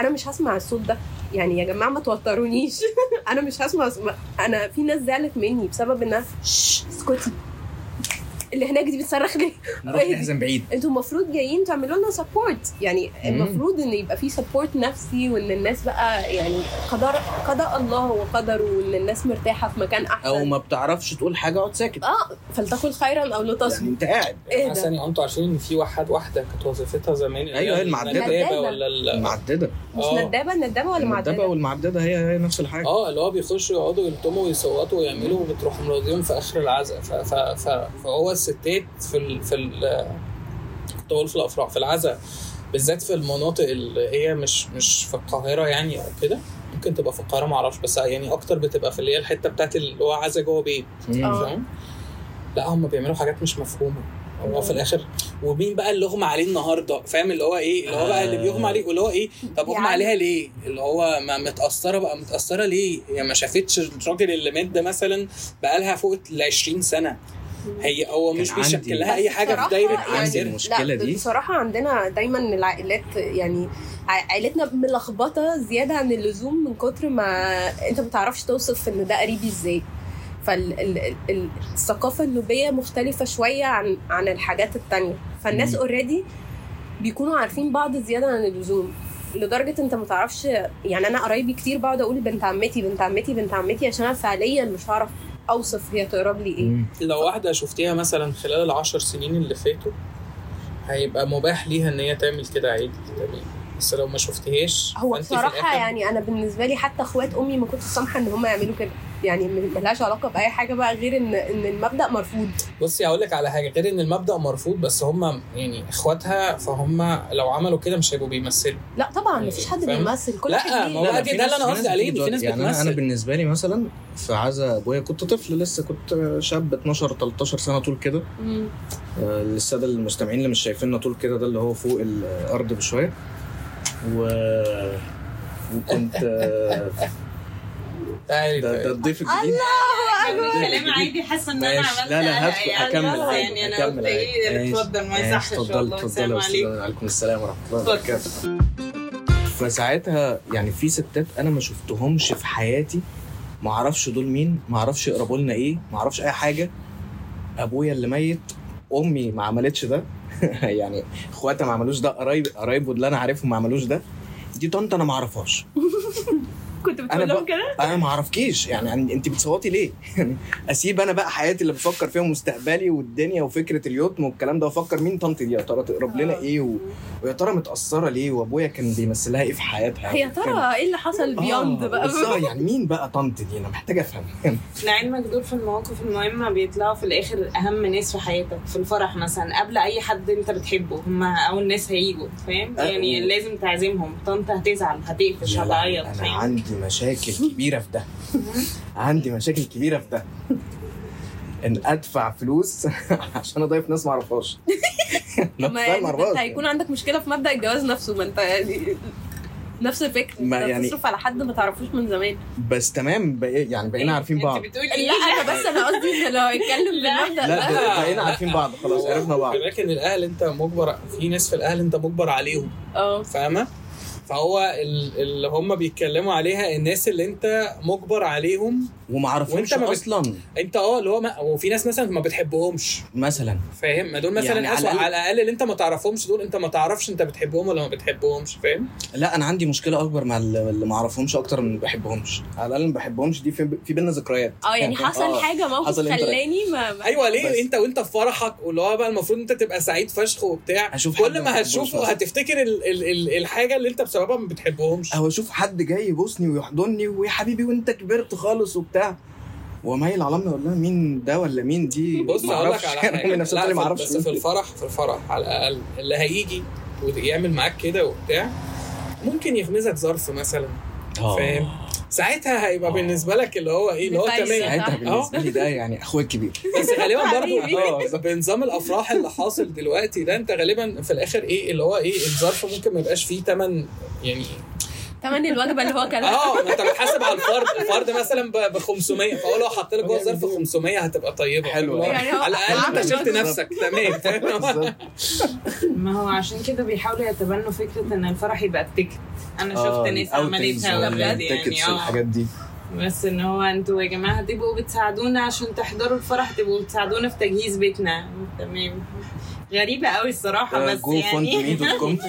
S2: انا مش هسمع الصوت ده يعني يا جماعه ما توترونيش [LAUGHS] انا مش هسمع ما- انا في ناس زعلت مني بسبب انها "شش، اسكتي اللي هناك دي بتصرخ ليه؟
S1: نروح
S2: إيه؟
S1: نحزن بعيد
S2: انتوا المفروض جايين تعملوا لنا سبورت يعني المفروض ان يبقى في سبورت نفسي وان الناس بقى يعني قدر قضاء الله وقدره وان الناس مرتاحه في مكان احسن
S1: او ما بتعرفش تقول حاجه اقعد ساكت
S2: اه فلتقل خيرا او
S1: يعني
S2: لتصمت
S1: انت قاعد
S2: ايه ده؟
S3: حسن انتوا عارفين ان في واحد واحده كانت وظيفتها زمان اللي هي
S1: أيوة، هي المعدة.
S3: الندابة
S2: المعدة.
S3: ولا ال-
S1: معدده
S2: مش
S3: آه.
S2: ندابه ندابه ولا
S1: المدبه
S2: معدبه؟
S1: والمعدده هي هي نفس الحاجه
S3: اه اللي هو بيخشوا يقعدوا يلطموا ويصوتوا ويعملوا وبتروح مراضيهم في اخر العزاء ف... ف... ف... فهو الستات في ال... في ال... كنت بقول في الافراح في العزاء بالذات في المناطق اللي هي مش مش في القاهره يعني او كده ممكن تبقى في القاهره معرفش بس يعني اكتر بتبقى في اللي هي الحته بتاعت اللي هو عزا جوه بيت
S1: مم.
S2: آه.
S3: فاهم لا هم بيعملوا حاجات مش مفهومه هو في الاخر ومين بقى اللي اغمى عليه النهارده فاهم اللي هو ايه اللي هو بقى اللي بيغمى عليه واللي هو ايه طب اغمى
S2: يعني-
S3: عليها ليه اللي هو ما متاثره بقى متاثره ليه هي ما شافتش الراجل اللي مات ده مثلا بقى لها فوق ال 20 سنه هي هو مش
S1: كان عندي-
S3: بيشكل لها اي
S2: بس
S3: حاجه في
S2: بصراحة
S3: دايره
S2: يعني-
S1: عندي
S3: مسيرها.
S1: المشكله
S2: لا
S1: دي
S2: بصراحه عندنا دايما العائلات يعني ع- عائلتنا ملخبطه زياده عن اللزوم من كتر ما انت ما بتعرفش توصف ان ده قريبي ازاي فالثقافه النوبيه مختلفه شويه عن عن الحاجات التانية فالناس
S1: مم.
S2: اوريدي بيكونوا عارفين بعض زياده عن اللزوم لدرجه انت ما تعرفش يعني انا قرايبي كتير بقعد اقول بنت عمتي بنت عمتي بنت عمتي عشان انا فعليا مش هعرف اوصف هي تقرب لي ايه
S1: مم.
S3: لو واحده شفتيها مثلا خلال العشر سنين اللي فاتوا هيبقى مباح ليها ان هي تعمل كده عادي تمام بس لو ما شفتهاش
S2: هو
S3: فأنت في
S2: بصراحة
S3: الآخر
S2: يعني أنا بالنسبة لي حتى إخوات أمي ما كنتش سامحة إن هم يعملوا كده يعني م- ملهاش علاقة بأي حاجة بقى غير إن إن المبدأ مرفوض
S3: بصي هقول لك على حاجه غير ان المبدا مرفوض بس هم يعني اخواتها فهم لو عملوا كده مش هيبقوا بيمثلوا
S2: لا طبعا مفيش حد
S3: فاهم؟
S2: بيمثل كل
S3: لا،
S2: واحد ليه.
S3: ما هو
S1: لا،
S3: بقى
S1: لا،
S3: دي-
S1: في
S3: ده
S1: ناس-
S3: اللي أنا
S1: في ناس
S3: قصدي عليه، إن
S1: بتقعد-
S3: في ناس
S1: يعني أنا- انا
S3: بتمثل.
S1: بالنسبه لي مثلا في عزا ابويا كنت طفل لسه كنت شاب 12 13 سنه طول كده
S2: مم.
S1: آه، للساده المستمعين اللي مش شايفيننا طول كده ده اللي هو فوق الارض بشويه و وكنت
S3: [LAUGHS]
S1: آه،
S3: تعالي طيب.
S1: ده ده
S3: تعالي.
S1: الضيف الجديد
S5: كلام عادي حاسه ان انا
S1: ماشي.
S5: عملت
S1: لا، لا،
S5: قلق
S1: هدخل
S5: يعني.
S1: هكمل
S5: خلاص
S1: عادي،
S5: يعني انا
S1: هكمل
S5: قلت
S1: عادي.
S5: ايه
S1: ماشي.
S5: اتفضل ما
S1: ماشي،
S5: يصحش
S1: اتفضل
S5: والله
S1: اتفضل
S5: السلام
S1: يا
S5: عليكم
S1: استاذ، وعليكم السلام ورحمه الله
S5: اتفضل.
S1: وبركاته فساعتها يعني في ستات انا ما شفتهمش في حياتي ما اعرفش دول مين ما اعرفش يقربوا لنا ايه ما اعرفش اي حاجه ابويا اللي ميت امي ما عملتش ده [LAUGHS] يعني اخواتي ما عملوش ده قرايب قرايبه اللي انا عارفهم ما عملوش ده دي طنط انا ما اعرفهاش
S2: كنت
S1: أنا
S2: بتقول لهم
S1: بق-
S2: كده؟
S1: انا ما اعرفكيش يعني أن- انت بتصوتي ليه [LAUGHS] يعني اسيب انا بقى حياتي اللي بفكر فيها ومستقبلي والدنيا وفكره اليوتم والكلام ده وافكر مين طنطي دي يا ترى تقرب لنا
S2: آه.
S1: ايه و... ويا ترى متاثره ليه وابويا كان بيمثلها ايه في حياتها
S2: يا ترى إيه اللي حصل بيوند بقى
S1: آه،
S2: [LAUGHS]
S1: بالظبط يعني مين بقى طنط دي انا محتاج افهم [LAUGHS] يعني
S5: لعلمك دول في المواقف المهمه بيطلعوا في الاخر اهم ناس في حياتك في الفرح مثلا قبل اي حد انت بتحبه هم اول ناس هيجوا فاهم
S1: أه.
S5: يعني لازم تعزمهم طنط هتزعل هتقفش
S1: يا لهوي،
S5: هتعيط
S1: انا
S5: فاهم؟
S1: عندي مشاكل كبيره في
S2: [LAUGHS]
S1: ده عندي مشاكل كبيره في ده ان ادفع فلوس [LAUGHS] عشان اضيف ناس ما [LAUGHS]
S2: [LAUGHS]
S1: اعرفهاش
S2: ما يعني [LAUGHS] انت هيكون عندك مشكلة في مبدأ الجواز نفسه ما انت يعني نفس الفكره
S1: ما
S2: انت
S1: يعني-
S2: بتصرف على حد ما تعرفوش من [LAUGHS] زمان
S1: بس تمام بقى يعني
S5: إيه،
S1: بقينا عارفين بعض
S5: انت بتقولي
S2: لا
S5: ايه
S2: انا بس انا قصدي ان لو هيتكلم
S5: لا.
S2: بالمبدا
S1: لا
S2: ده
S1: ب- بقينا عارفين بعض خلاص عرفنا بعض
S3: لكن الاهل انت مجبر في ناس في الاهل انت مجبر عليهم
S2: اه
S3: فاهمه فهو ال- اللي هم بيتكلموا عليها الناس اللي انت مجبر عليهم
S1: وما
S3: وانت
S1: عرفوش
S3: ما بت-
S1: اصلا
S3: انت اه اللي هو ما وفي ناس مثلا ما بتحبهمش
S1: مثلا
S3: فاهم ما دول مثلا
S1: يعني
S3: يعني
S1: على
S3: أسوأ على,
S1: الأقل-
S3: الاقل اللي انت ما تعرفهمش دول انت ما تعرفش انت بتحبهم ولا ما بتحبهمش فاهم
S1: لا انا عندي مشكله اكبر مع اللي اللي ما اعرفهمش اكتر من ما بحبهمش على الاقل ما بحبهمش دي في, في بينا ذكريات
S2: اه يعني حصل
S1: آه.
S2: حاجه موقف
S1: حصل interact.
S2: خلاني ما ما-
S3: ايوه ليه
S1: بس.
S3: انت وانت في فرحك واللي هو بقى المفروض انت تبقى سعيد فشخ وبتاع
S1: هشوف حد
S3: كل
S1: ما
S3: ما
S1: بحبوش
S3: هتشوفه
S1: مثلاً.
S3: هتفتكر ال ال ال الحاجه اللي انت بسببها ما بتحبهمش
S1: او اشوف حد جاي يبوسني ويحضني ويا حبيبي وانت كبرت خالص وبتاع ومايل على امي اقول لها مين ده ولا مين دي
S3: بص
S1: ما
S3: هقول لك
S1: أعرفش.
S3: على
S1: يعني [LAUGHS]
S3: حاجه
S1: من نفسها
S3: لا،
S1: اللي ما
S3: في-
S1: اعرفش
S3: بس في الفرح في الفرح على الاقل اللي هيجي ويعمل معاك كده وبتاع ممكن يغمزك ظرف مثلا
S1: آه.
S3: فاهم؟ ساعتها هيبقى
S1: آه.
S3: بالنسبه لك اللي هو ايه اللي هو
S2: نفايزة.
S3: تمام
S1: [LAUGHS] ساعتها بالنسبه لي ده يعني اخويا الكبير
S3: بس غالبا
S2: حبيبي.
S3: برضو
S1: آه،
S3: اه [LAUGHS] بنظام الافراح اللي حاصل دلوقتي ده انت غالبا في الاخر ايه اللي هو ايه الظرف ممكن ما يبقاش فيه تمن يعني
S2: تمن الوجبه اللي هو كان
S3: اه ما انت بتحاسب على الفرد الفرد مثلا ب 500 فهو لو حط لك جوه الظرف 500 هتبقى طيبه
S1: حلوة.
S2: يعني هو
S3: على الاقل انت
S2: عمل
S3: شلت
S2: مجهود.
S3: نفسك تمام فاهم؟
S1: [LAUGHS]
S5: ما هو عشان كده بيحاولوا يتبنوا فكره ان الفرح يبقى التيكت انا شفت
S1: آه،
S5: ناس عملتها
S1: إيه؟
S5: بجد يعني اه
S1: الحاجات دي
S5: بس ان هو انتوا يا جماعه هتبقوا بتساعدونا عشان تحضروا الفرح تبقوا بتساعدونا في تجهيز بيتنا تمام غريبه قوي الصراحه بس
S1: جو فوند مي
S5: يعني
S1: دوت
S5: [LAUGHS]
S1: كوم
S2: [LAUGHS]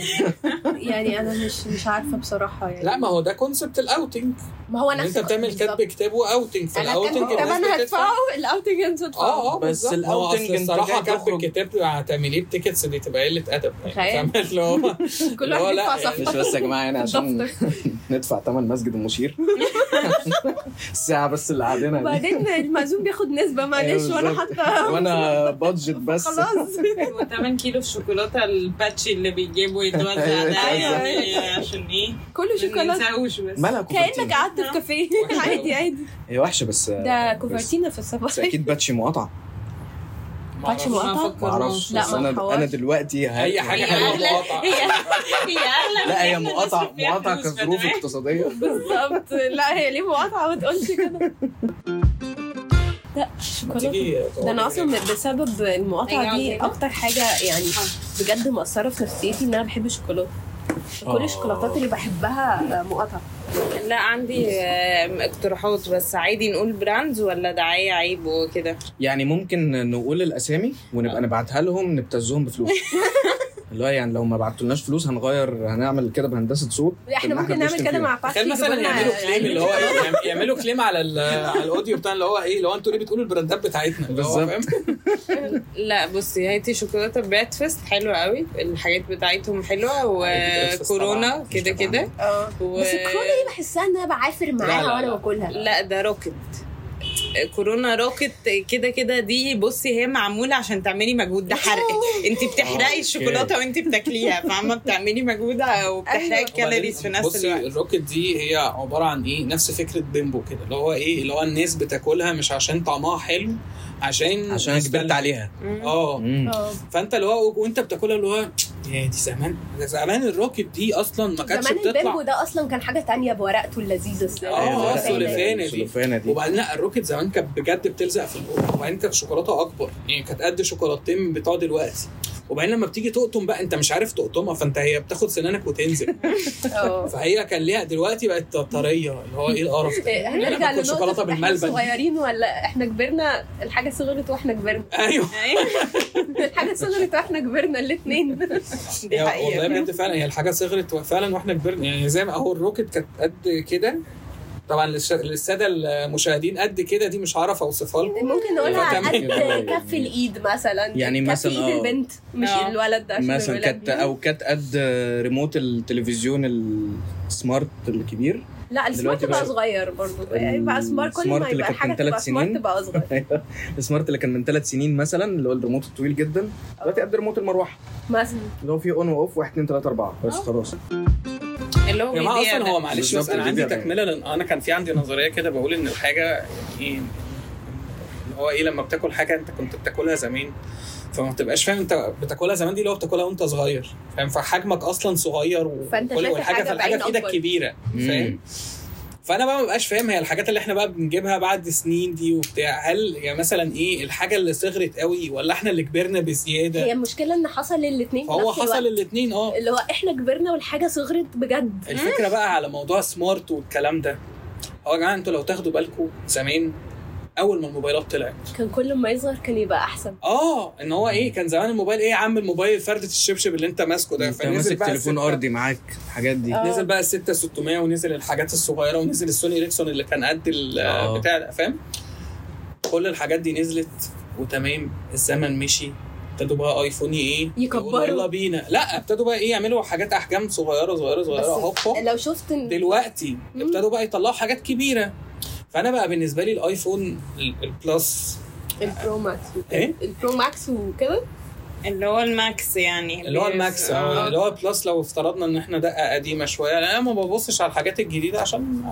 S2: يعني انا مش مش عارفه بصراحه يعني
S3: لا ما هو ده كونسبت الاوتنج
S2: ما هو
S3: إن
S2: نفس
S3: انت بتعمل
S2: بالظبط.
S3: كاتب كتاب واوتنج
S2: انا كاتب
S3: فالاوتنج
S2: كتاب
S3: الناس
S2: انا
S3: بتدفع.
S2: هدفعه الاوتنج انت هتدفعه
S3: اه اه
S1: بس
S3: بالظبط. ما هو
S1: الأوتنج
S3: أصل
S1: أنت
S3: الصراحه
S1: جاي
S3: كاتب
S1: تخرج.
S3: الكتاب هتعمليه بتيكتس دي تبقى قله ادب يعني،
S2: تخيل.
S3: فاهم؟ اللي
S2: [LAUGHS]
S3: هو
S2: كل
S3: اللي هو
S2: واحد
S3: لا،
S2: يدفع
S3: يعني
S1: مش
S2: صفقه
S1: بس يا جماعه يعني عشان ندفع ثمن مسجد
S2: [LAUGHS]
S1: المشير الساعه بس اللي قعدنا دي
S2: وبعدين المعزوم بياخد نسبه معلش
S1: أيوة
S2: وانا
S1: بالظبط.
S2: حاطه
S1: وانا بادجت بس
S2: خلاص
S5: و8 كيلو الشوكولاته الباتشي اللي بيجيبوا يتوزع
S1: أيوة،
S5: ده يعني عشان ايه
S2: كله
S5: ما
S2: شوكولاته
S5: ننساهوش بس
S1: مالها
S2: كانك
S1: كوفرتينا
S2: قعدت في كافيه عادي عادي
S1: هي وحشه بس آه،
S2: ده
S1: بس-
S2: كوفرتينا في
S1: بس
S2: الصباح
S1: اكيد باتشي مقاطعه
S2: باتش
S5: ما
S2: مقاطعه
S1: ما اعرفش
S5: فكرناش.
S2: لا،
S1: بس
S2: ما
S1: انا
S2: نحورش.
S1: انا دلوقتي ه-
S3: اي حاجه
S5: هي
S3: حلوه
S5: أغلى.
S3: مقاطعه
S5: هي هي اغلى من
S1: لا هي
S5: إحنا
S1: مقاطعه
S2: [LAUGHS]
S5: نصرف فيها
S1: مقاطعه
S5: فلوس،
S1: كظروف
S5: فاهمة؟
S1: اقتصاديه
S2: بالظبط لا هي ليه مقاطعه ما تقولش كده لا شوكولاته
S3: تيجي يعني
S2: ده انا اصلا بسبب المقاطعه دي اكتر حاجه يعني بجد مأثره في نفسيتي ان انا بحب الشوكولاته كل
S1: آه.
S2: الشوكولاتات اللي بحبها آه، مقاطعه
S5: لا عندي آم، اقتراحات بس عادي نقول براندز ولا دعايه عيب وكده
S1: يعني ممكن نقول الاسامي
S2: آه.
S1: ونبقى نبعتها لهم نبتزهم
S2: [LAUGHS]
S1: بفلوس اللي هو يعني لو ما بعتولناش فلوس هنغير هنعمل كده بهندسه صوت
S2: احنا
S1: إن
S2: ممكن نعمل
S1: بنشتم
S2: كده
S1: فيهم.
S2: مع باتشي
S3: تخيل مثلا
S2: يجيبوا لنا
S3: يعملوا
S2: علبة
S3: كليم اللي هو
S2: يعني
S3: إيه، يعملوا كليم على ال- على الاوديو بتاع اللي هو ايه اللي هو انتوا ليه بتقولوا البراندات بتاعتنا اللي هو
S1: بالظبط.
S3: فاهم؟
S5: لا بصي هاتي شوكولاته بريدفاست حلوه قوي الحاجات بتاعتهم حلوه
S3: بريدفاست طبعاً،
S5: وكورونا
S1: مش
S5: كده
S1: طبعاً.
S5: كده
S2: اه
S5: و...
S2: بس الكورونا دي بحسها ان انا بعافر
S3: لا، لا،
S2: معاها وانا
S3: لا.
S2: باكلها
S5: لا ده روكت كورونا روكت كده كده دي بصي هي معموله عشان تعملي مجهود ده حرق انت
S1: أوكي.
S5: بتحرقي الشوكولاته وانت بتاكليها فاهمه بتعملي مجهود وبتحرقي
S2: أيوة.
S5: الكالوريز في نفس
S3: بصي
S5: الوقت
S3: الروكت دي هي عباره عن ايه نفس فكره بيمبو كده اللي هو ايه اللي هو الناس بتاكلها مش عشان طعمها حلو عشان
S1: عشان انا كبرت عليها
S5: أمم.
S3: اه
S1: مم.
S2: اه
S3: فانت اللي هو وانت بتاكلها اللي هو يا دي زمان ده زمان الروكت دي اصلا ما كانتش
S2: زمان البيمبو
S3: بتطلع
S2: ده اصلا كان حاجه تانية بورقته اللذيذه الصراحة. يعني
S3: آه،
S1: أيوة،
S3: آه،
S1: لا،
S3: سوليفانة دي.
S1: سوليفانة دي
S3: وبعدين لا الروكت زمان كانت بجد بتلزق في البق وبعدين كانت شوكولاته اكبر يعني كانت قد شوكولاتتين بتوع دلوقتي وبعدين لما بتيجي تقطم بقى انت مش عارف تقطمها فانت هي بتاخد سنانك وتنزل
S2: اه
S3: فهي كان ليها دلوقتي بقت طريه اللي هو ايه القرف ده [LAUGHS]
S2: إيه،
S3: أنا
S2: هنرجع
S3: باكل شوكولاته
S2: لنقطه احنا
S3: بالملبن.
S2: صغيرين ولا احنا كبرنا الحاجه صغرت واحنا كبرنا
S3: ايوه
S5: أيوة.
S2: الحاجه صغرت واحنا كبرنا الاثنين
S5: دي
S3: هي والله
S5: حقيقه
S3: بجد فعلا هي الحاجه صغرت فعلا واحنا كبرنا يعني زي ما اهو الروكت كانت قد كده طبعا للش- للساده المشاهدين قد كده دي مش هعرف اوصفها لكم
S2: ممكن نقولها على
S3: فتمام.
S2: قد كف الايد مثلا
S1: يعني
S2: كف
S1: مثلا،
S2: ايد
S1: آه.
S2: البنت مش
S5: آه.
S2: الولد ده عشان
S1: مثلا
S2: الولد
S1: كانت او كانت قد ريموت التلفزيون السمارت الكبير [LAUGHS]
S2: لا السمارت
S1: دلوقتي
S2: بقى
S1: بقى-
S2: صغير برضه يعني بقى سمارت كل
S1: السمارت
S2: ما
S1: اللي
S2: يبقى
S1: كانت
S2: حاجه
S1: من ثلاث
S2: تبقى سمارت
S1: سنين.
S2: بقى صغير
S1: أيوة، السمارت اللي كان من ثلاث سنين مثلا اللي هو الريموت الطويل جدا دلوقتي قد ريموت المروحه
S2: مثلا
S1: اللي هو فيه اون واوف 1 2 3 4 بس خلاص
S5: اللي
S3: يا جماعه
S5: هو
S3: اصلا هو معلش بس
S1: بالظبط،
S3: انا
S1: دي
S3: عندي
S1: بيبقى-
S3: تكمله لان انا كان في عندي نظريه كده بقول إيه، ان إيه، الحاجه يعني ايه اللي هو ايه لما بتاكل حاجه انت كنت بتاكلها زمان فما بتبقاش فاهم انت بتاكلها زمان دي لو بتاكلها وانت صغير فاهم فحجمك اصلا صغير و...
S2: فانت
S3: وكل-
S2: شايف
S3: والحاجه
S2: الحاجة
S3: فالحاجه
S2: بعين
S3: في ايدك
S2: اكبر.
S3: كبيره فاهم فانا بقى ما بقاش فاهم هي الحاجات اللي احنا بقى بنجيبها بعد سنين دي وبتاع هل يعني مثلا ايه الحاجه اللي صغرت قوي ولا احنا اللي كبرنا
S2: هي
S3: بزياده
S2: المشكله ان حصل الاثنين
S3: فهو حصل الاثنين اه
S2: اللي هو احنا كبرنا والحاجه صغرت بجد
S3: الفكره بقى على موضوع سمارت والكلام ده هو يا جماعه انتوا لو تاخدوا بالكم زمان اول ما الموبايلات طلعت
S2: كان كل ما يصغر كان يبقى احسن
S3: اه ان هو ايه كان زمان الموبايل ايه يا عم الموبايل فرده الشبشب اللي انت ماسكه ده
S1: انت ماسك
S3: بقى
S1: تليفون
S3: الستة-
S1: ارضي معاك الحاجات دي
S2: آه.
S3: نزل بقى ال 6600 ونزل الحاجات الصغيره ونزل السوني اريكسون اللي كان قد ال-
S1: آه.
S3: بتاع ده فاهم كل الحاجات دي نزلت وتمام الزمن مشي ابتدوا بقى ايفوني ايه
S2: يكبروا.
S3: يقولوا يلا بينا لا ابتدوا بقى ايه يعملوا حاجات احجام صغيره صغيره صغيره هوب هوب
S2: لو شفت إن-
S3: دلوقتي
S2: مم.
S3: ابتدوا بقى يطلعوا حاجات كبيره فانا بقى بالنسبه لي الايفون ال- البلس
S2: البرو ماكس وكده.
S3: إيه؟
S2: البرو ماكس وكده
S5: اللي هو الماكس يعني
S3: اللي هو الماكس آه، اللي هو البلس لو افترضنا ان احنا دقه قديمه شويه لأن انا ما ببصش على الحاجات الجديده عشان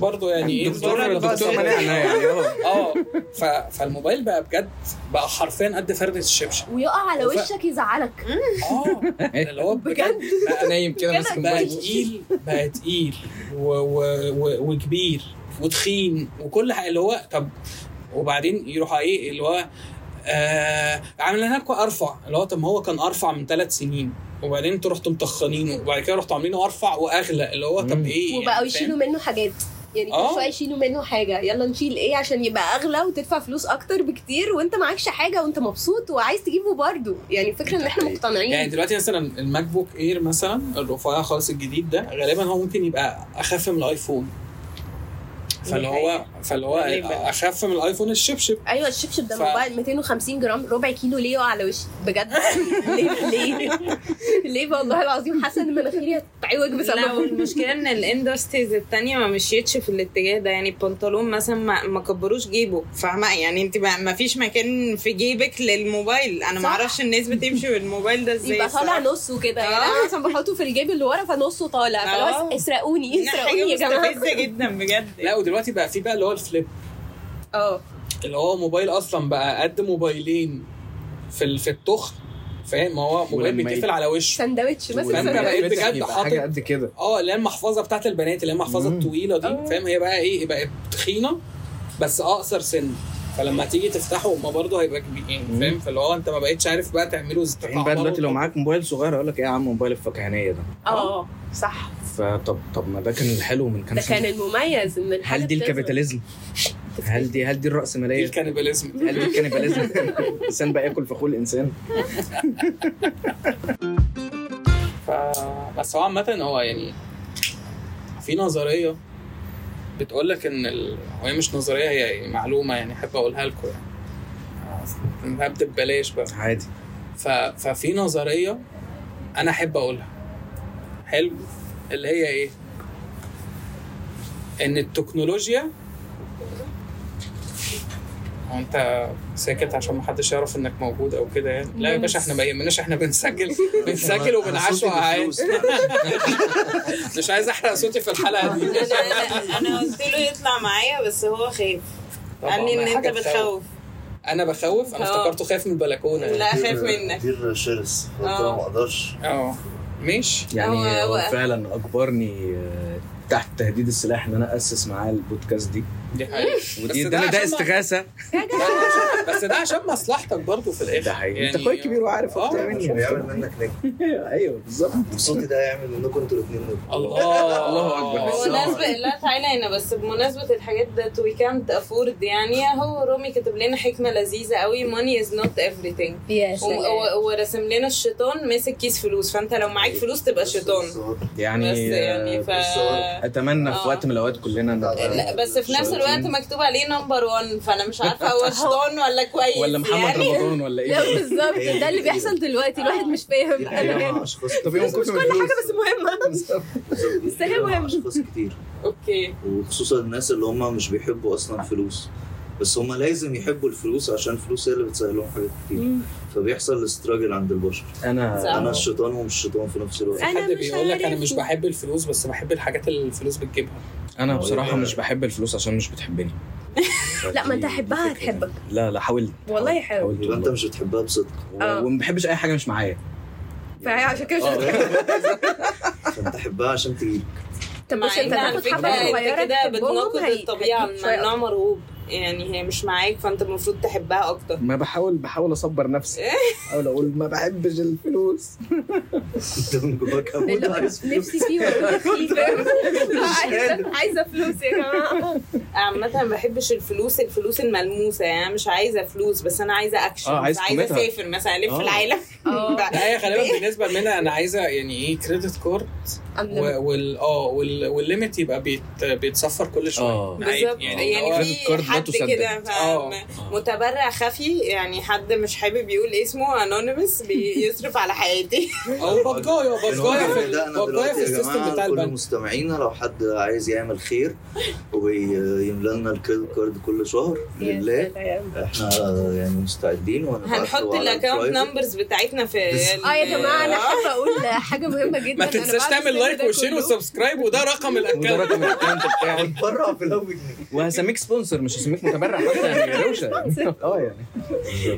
S3: برضه يعني ايه
S1: دكتور
S3: الزرار اللي بقى
S1: الدكتور
S3: زي-
S1: منعنا يعني اه
S3: اه ف... فالموبايل بقى بجد بقى حرفيا قد فرده الشبشب
S2: ويقع على
S3: وف-
S2: وشك يزعلك
S3: اه
S1: [LAUGHS]
S3: اللي هو بجد
S1: انت نايم كده ماسك
S3: بقى
S1: الموبايل
S3: تقيل بقى تقيل و... و... و... وكبير وتخين وكل حاجه اللي هو طب وبعدين يروح ايه اللي هو آه عامل لكم ارفع اللي هو طب ما هو كان ارفع من ثلاث سنين وبعدين انتوا رحتوا مطخنينه وبعد كده رحتوا عاملينه ارفع واغلى اللي هو
S1: مم.
S3: طب ايه يعني
S2: وبقوا
S3: فاهم؟
S2: يشيلوا منه حاجات يعني
S3: آه.
S2: كل شويه يشيلوا منه حاجه يلا نشيل ايه عشان يبقى اغلى وتدفع فلوس اكتر بكتير وانت معكش حاجه وانت مبسوط وعايز تجيبه برضه يعني الفكره ان احنا مقتنعين
S3: يعني دلوقتي مثلا الماك بوك اير مثلا الرفيع خالص الجديد ده غالبا هو ممكن يبقى اخف من الايفون فاللي هو فاللي هو
S5: غالباً.
S3: اخف من الايفون الشبشب
S2: ايوه الشبشب ده
S3: ف-
S2: موبايل 250 جرام ربع كيلو ليه يقع على وشي [LAUGHS] بجد ليه ليه ليه والله العظيم حاسه ان مناخيري هتتعوج
S5: لا
S2: بسببه
S5: والمشكلة ان الاندستريز التانية ما مشيتش في الاتجاه ده يعني البنطلون مثلا ما, ما كبروش جيبه فاهمة يعني انت ما, ما فيش مكان في جيبك للموبايل انا
S2: صح.
S5: ما اعرفش الناس بتمشي بالموبايل ده ازاي
S2: يبقى طالع
S5: الصراحة.
S2: نصه كده يعني
S5: آه.
S2: انا مثلا بحطه في الجيب اللي ورا فنصه طالع
S5: آه.
S2: فلو اسرقوني
S5: إنها
S2: اسرقوني يا
S5: حاجة
S2: جماعه
S5: مستفزة جدا بجد
S3: لا ودلوقتي بقى في بقى اللي هو الفليب
S2: اه
S3: اللي هو موبايل اصلا بقى قد موبايلين في ال- في التخن فاهم ما هو موبايل
S1: ولما ي-
S3: بيتقفل على وشه
S2: سندوتش مثلا
S3: فأنت
S1: ولما
S3: بقيت
S1: يتفتح
S3: بجد
S1: يبقى
S3: حاطط-
S1: حاجه قد كده
S3: اه اللي هي المحفظه بتاعت البنات اللي هي المحفظه
S1: مم.
S3: الطويله
S2: آه.
S3: دي فاهم هي بقى ايه بقت تخينه بس اقصر سن فلما تيجي تفتحه ما برضه هيبقى كبير يعني
S1: مم.
S3: فاهم فاللي هو انت ما بقتش عارف بقى تعمله ازاي
S1: الحين بقى دلوقتي لو معاك موبايل صغير اقول لك ايه يا عم موبايل الفكهانيه ده
S2: اه صح
S1: فطب طب ما ده كان الحلو من كام
S2: ده كان
S1: سنه
S2: المميز ان الحاجه
S1: هل دي
S2: بتظهر.
S1: الكابيتاليزم؟ هل دي هل دي
S3: دي
S1: الراسماليه؟
S3: الكانيباليزم
S1: هل دي الكانيباليزم؟ الانسان بقى ياكل فخول الانسان
S3: ف... بس هو عامة هو يعني في نظرية بتقول لك ان ال... وهي مش نظرية هي معلومة يعني احب اقولها لكم يعني هبدا ببلاش بقى
S1: عادي
S3: ف... ففي نظرية انا احب اقولها حلو اللي هي ايه ان التكنولوجيا هو انت ساكت عشان محدش يعرف انك موجود او كده يعني لا يا باشا احنا ما يهمناش احنا
S5: [LAUGHS]
S3: بنسجل بنسجل وبنعشوا عادي [LAUGHS] مش عايز احرق صوتي في الحلقه دي
S5: [LAUGHS] أنا-
S3: [LAUGHS]
S5: أنا- انا قلت له يطلع معايا بس هو خايف
S3: طبعاً،
S5: قال لي
S3: ما هي
S5: ان انت
S3: حاجة تخوف.
S5: بتخوف
S3: انا بخوف انا
S5: آه.
S3: افتكرته خايف من البلكونه يعني.
S5: لا خايف منك
S6: كتير شرس قلت
S5: آه.
S6: له ما اقدرش
S3: اه ماشي
S1: يعني
S5: هو-
S1: هو
S5: هو-
S1: فعلا اجبرني آه، تحت تهديد السلاح ان انا اسس معاه البودكاست دي
S3: دي
S5: [LAUGHS]
S3: حقيقه
S1: ودي ده
S3: بس ده
S1: ده
S3: عشان ما-
S1: استغاثه
S3: بس ده عشان مصلحتك برضو في الاخر
S1: ده حقيقي انت اخويا كبير وعارف
S3: آه.
S1: اكتر مني
S6: عشان يعمل
S1: [LAUGHS]
S6: منك نجم
S1: ايوه بالظبط
S6: صوتي ده يعمل منكم انتوا الاثنين نجم
S3: الله
S1: الله أكبر.
S5: هو
S1: السلام
S5: ناس ب- لا تعالى هنا بس بمناسبة الحاجات that we can't afford يعني هو رومي كتب لنا حكمة لذيذة قوي money is not everything
S2: يا
S5: و-
S2: سلام
S5: [LAUGHS] و- ورسم لنا الشيطان ماسك كيس فلوس فانت لو معاك فلوس تبقى شيطان
S1: إيه. يعني
S5: بس يعني ف
S1: آه، اتمنى في
S5: آه.
S1: وقت من الاوقات كلنا نبقى
S5: لا بس في نفس الوقت مكتوب عليه نمبر 1 فانا مش عارفه
S1: [LAUGHS]
S5: هو شيطان ولا كويس
S1: ولا محمد
S5: يعني
S1: رمضان ولا
S2: لا
S1: ايه
S2: بالظبط ده اللي بيحصل دلوقتي الواحد مش فاهم
S6: دي
S2: انا
S6: حقيقة
S2: فاهم
S6: مع اشخاص
S1: طب يوم كنت
S2: كل حاجه بس مهمه بس هي مهمة.
S6: مع اشخاص كتير
S5: اوكي
S6: وخصوصا الناس اللي هم مش بيحبوا اصلا فلوس بس هم لازم يحبوا الفلوس عشان الفلوس هي اللي بتسهل لهم حاجات كتير فبيحصل استراجل عند البشر
S5: صح.
S1: انا
S6: انا الشيطان ومش الشيطان في نفس الوقت
S2: أنا
S3: حد
S2: مش
S3: بيقول لك انا
S2: عارف.
S3: مش بحب الفلوس بس بحب الحاجات اللي الفلوس بتجيبها
S1: يعني انا بصراحه مش بحب الفلوس عشان مش بتحبني
S2: لا ما انت
S1: دي- دي
S2: حبها
S1: فكرة
S2: هتحبك.
S1: يعني. لا لا حاولت
S2: والله حاول.
S1: حاولت
S6: يبقى انت
S1: والله.
S6: مش بتحبها بصدق
S2: آه.
S1: و- وما بحبش اي حاجه مش
S6: [LAUGHS]
S1: معايا
S2: فهي عشان كده مش
S1: آه.
S2: بتحبك.
S6: فانت حبها عشان تجيب
S2: طب بص انت
S5: على
S2: تاخد
S5: فكره
S2: حبه
S5: انت
S2: صغيره
S5: كده
S2: تحبهم،
S5: بتناقض
S2: هي-
S5: الطبيعه
S2: هتجيب شوية
S5: انها مرغوب يعني هي مش معاك فانت المفروض تحبها اكتر
S1: ما بحاول بحاول اصبر
S2: [LAUGHS]
S1: نفسي احاول اقول ما بحبش الفلوس
S6: انت من جواك هموت
S2: اللي هو
S6: عايز فلوس
S2: [LAUGHS] نفسي فيه ولا فيه
S5: [LAUGHS]
S2: فاهم؟
S6: قادر.
S2: عايزه عايزه فلوس يا جماعه
S5: عامة ما بحبش الفلوس الفلوس الملموسة يعني أنا مش عايزة فلوس بس أنا عايزة أكشن
S1: آه، عايز
S5: مش عايزة
S1: قيمتها.
S5: أسافر مثلا ألف
S1: آه. إيه،
S5: العالم
S2: آه.
S5: [LAUGHS] بقى.
S3: لا هي غالبا
S2: [LAUGHS]
S3: بالنسبه لنا انا عايزه يعني ايه كريدت كارد و- وال اه وال- والليميت يبقى بيت بيتصفر كل شويه
S1: آه.
S3: عادي،
S5: بالظبط يعني,
S3: اللي هو-
S5: يعني
S1: كريدت كارد
S5: في
S1: لا
S5: حد
S1: تسدد.
S5: كده فاهم؟
S3: آه.
S5: متبرع خفي يعني حد مش حابب يقول اسمه انونيمس بيصرف على
S2: [LAUGHS]
S5: حياتي
S3: او بجايه بجايه في
S6: ده
S3: ال-
S6: انا
S3: بجايه
S6: دلوقتي
S3: في
S6: يا
S3: السيستم
S6: جماعه
S3: بتاع
S6: كل
S3: البنك
S6: مستمعينا لو حد عايز يعمل خير ويملى لنا الكريدت كارد كل شهر لله احنا يعني مستعدين وهنبعت له
S5: هنحط
S6: على
S5: الاكونت
S6: البرايفت.
S5: نمبرز بتاعتنا في ال- آه،
S2: اه يا جماعه انا حابه اقول حاجه مهمه جدا
S3: ما
S2: أنا
S3: تنساش
S2: بعد
S3: تعمل
S2: السن
S3: لايك
S2: ده
S3: وشير
S2: كله-
S3: وسبسكرايب وده رقم
S1: وده
S3: الاكونت
S1: رقم الاكونت بتاعي
S6: هنتبرع في الاول جنيه.
S1: وهسميك سبونسر مش هسميك متبرع حتى يعني يا روشه [LAUGHS] اه يعني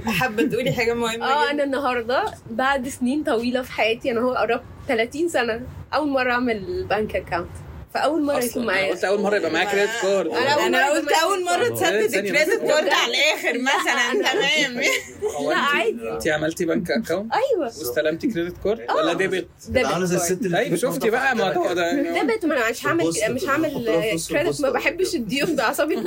S5: حابه تقولي حاجه مهمه
S2: اه
S5: جداً.
S2: انا النهارده بعد سنين طويله في حياتي انا هو قربت 30 سنه اول مره اعمل بنك اكاونت فاول مره
S3: أصلاً.
S2: يكون
S3: أنا
S2: معايا
S3: قلت اول مره يبقى معايا كريدت كارد
S2: أنا أول
S5: انا
S2: مرة
S5: قلت
S2: تبقى-
S5: اول مره تسدد
S3: ثانية
S5: الكريدت
S3: بس.
S5: كارد على الاخر مثلا تمام
S3: هو
S2: لا
S3: أنت-
S2: عادي.
S3: انت عملتي بنك اكونت
S2: ايوه
S3: واستلمتي كريدت
S2: آه.
S3: كارد ولا ديبت
S6: ده عامله زي الست اللي
S3: طيب شفتي [LAUGHS] بقى ما هو ده
S2: دبت ما انا مش هعمل
S6: البوست
S2: مش
S6: كده،
S2: هعمل
S6: حطها في نص
S2: كريدت
S6: البوست
S2: ما
S6: ولا
S2: بحبش
S6: كده.
S2: الديون بعصبي مش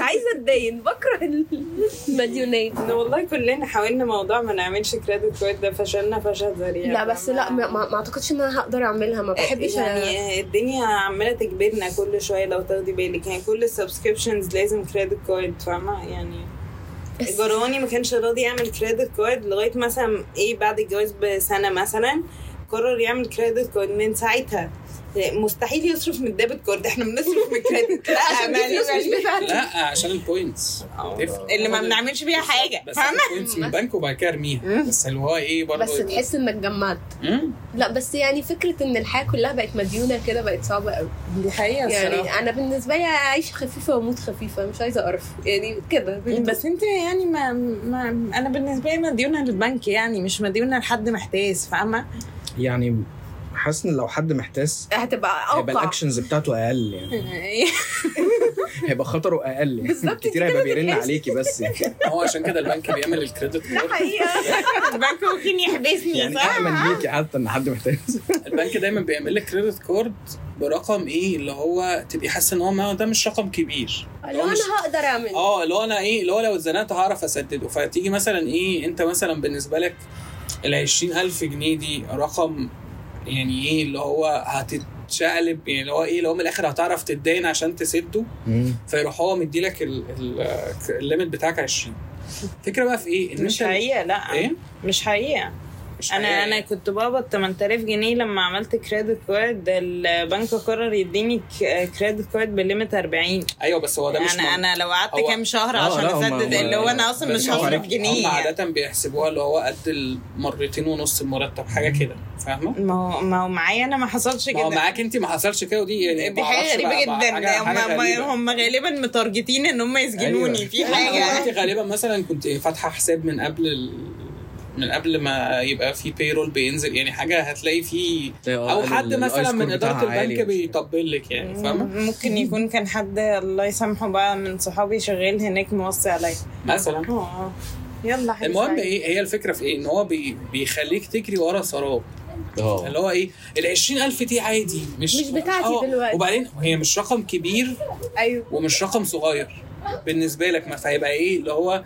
S2: عايزه اتدين بكره [LAUGHS] المديونيه
S5: إن والله كلنا حاولنا موضوع ما نعملش كريدت كارد ده فشلنا فشل ذريع
S2: لا بس لا ما, ما ما اعتقدش ان انا هقدر اعملها ما بحبش يعني
S5: يعني الدنيا عماله تجبرنا كل شويه لو تاخدي بالك يعني كل السبسكريبشنز لازم كريدت كارد فاهمه يعني
S2: بس-
S5: جراني ما كانش راضي يعمل كريدت كارد لغايه مثلا ايه بعد الجواز بسنه مثلا قرر يعمل كريدت كارد من ساعتها مستحيل يصرف من الديبت كارد احنا بنصرف من
S2: [LAUGHS]
S5: الكريدت لا
S2: عشان دي فلوس مش
S5: مالي-
S2: بتاعتي
S3: لا عشان البوينتس
S5: مالي. اللي ما بنعملش بيها حاجه
S3: بس
S5: فاهمه
S3: البوينتس من البنك وبعد كده ارميها بس اللي هو ايه برضه
S2: بس تحس انك جمعت
S3: مم.
S2: لا بس يعني فكره ان الحياه كلها بقت مديونه كده بقت صعبه قوي
S5: دي حقيقه
S2: يعني انا بالنسبه لي اعيش خفيفه واموت خفيفه مش عايزه اقرف يعني كده
S5: بس انت يعني ما, ما انا بالنسبه لي مديونه للبنك يعني مش مديونه لحد محتاس فاهمه
S1: يعني حاسس ان لو حد محتاس
S2: هتبقى
S1: هيبقى
S2: اوقع
S1: الاكشنز بتاعته اقل يعني
S2: [LAUGHS]
S1: هيبقى خطره اقل يعني
S2: بالظبط،
S1: كتير هيبقى بيرن عليكي بس يعني
S3: هو عشان كده البنك بيعمل الكريدت
S2: [LAUGHS]
S3: كارد
S5: [LAUGHS]
S2: حقيقه
S5: البنك ممكن يحبسني
S1: يعني
S5: صح؟
S1: اامن ليكي حتى ان حد محتاس
S3: البنك دايما بيعمل لك كريدت كارد برقم ايه اللي هو تبقي حاسه ان هو ما ده مش رقم كبير
S2: لو
S3: مش-
S2: انا هقدر اعمل
S3: اه اللي هو انا ايه اللي هو لو اتزنقت هعرف اسدده فتيجي مثلا ايه انت مثلا بالنسبه لك ال 20000 جنيه دي رقم يعني ايه اللي هو هتتشقلب يعني اللي هو ايه اللي هو من الاخر هتعرف تتداين عشان تسده فيروح هو مديلك ال- ال- الليميت بتاعك 20 الفكره بقى في ايه؟ ان
S5: مش
S3: انت-
S5: حقيقه لا
S3: ايه؟
S5: مش حقيقه
S3: مش
S5: انا
S3: حقيقة.
S5: انا كنت بقبض 8000 جنيه لما عملت كريدت كارد البنك قرر يديني كريدت كارد بليمت 40
S3: ايوه بس هو ده مش
S5: انا
S3: منطقي.
S5: انا لو قعدت
S3: هو-
S5: كام شهر
S1: آه،
S5: عشان
S1: لا، هما-
S5: اسدد
S1: هما-
S5: اللي هو انا اصلا مش
S1: هو
S5: هصرف
S1: عليك-
S5: جنيه
S3: هم
S5: يعني.
S3: عادة بيحسبوها اللي هو قد المرتين ونص المرتب حاجة كده فاهمة؟
S5: ما هو ما هو معايا انا ما حصلش
S3: ما هو
S5: كده
S3: معاك انت ما حصلش كده ودي يعني
S5: دي حاجه غريبه جدا هم هم غالبا متارجتين ان هم يسجنوني
S1: أيوة.
S5: في
S3: حاجة
S5: حاجه
S3: انت غالبا مثلا إيه، كنت فاتحة حساب من قبل ال... من قبل ما يبقى في بيرول بينزل يعني حاجة هتلاقي فيه او حد مثلا من اداره البنك بيطبل لك يعني فاهمه
S5: ممكن يكون كان حد الله يسامحه بقى من صحابي شغال هناك موصي عليا
S3: مثلا
S5: آه. يلا حاجة
S3: المهم
S5: سعيدة.
S3: ايه هي الفكره في ايه ان هو بي... بيخليك تجري ورا سراب
S5: آه.
S1: اه.
S3: اللي هو ايه ال 20000 دي عادي مش
S2: مش بتاعتي
S3: آه،
S2: دلوقتي.
S3: وبعدين هي مش رقم كبير
S2: ايوه
S3: ومش رقم صغير بالنسبه لك ما فهيبقى ايه اللي هو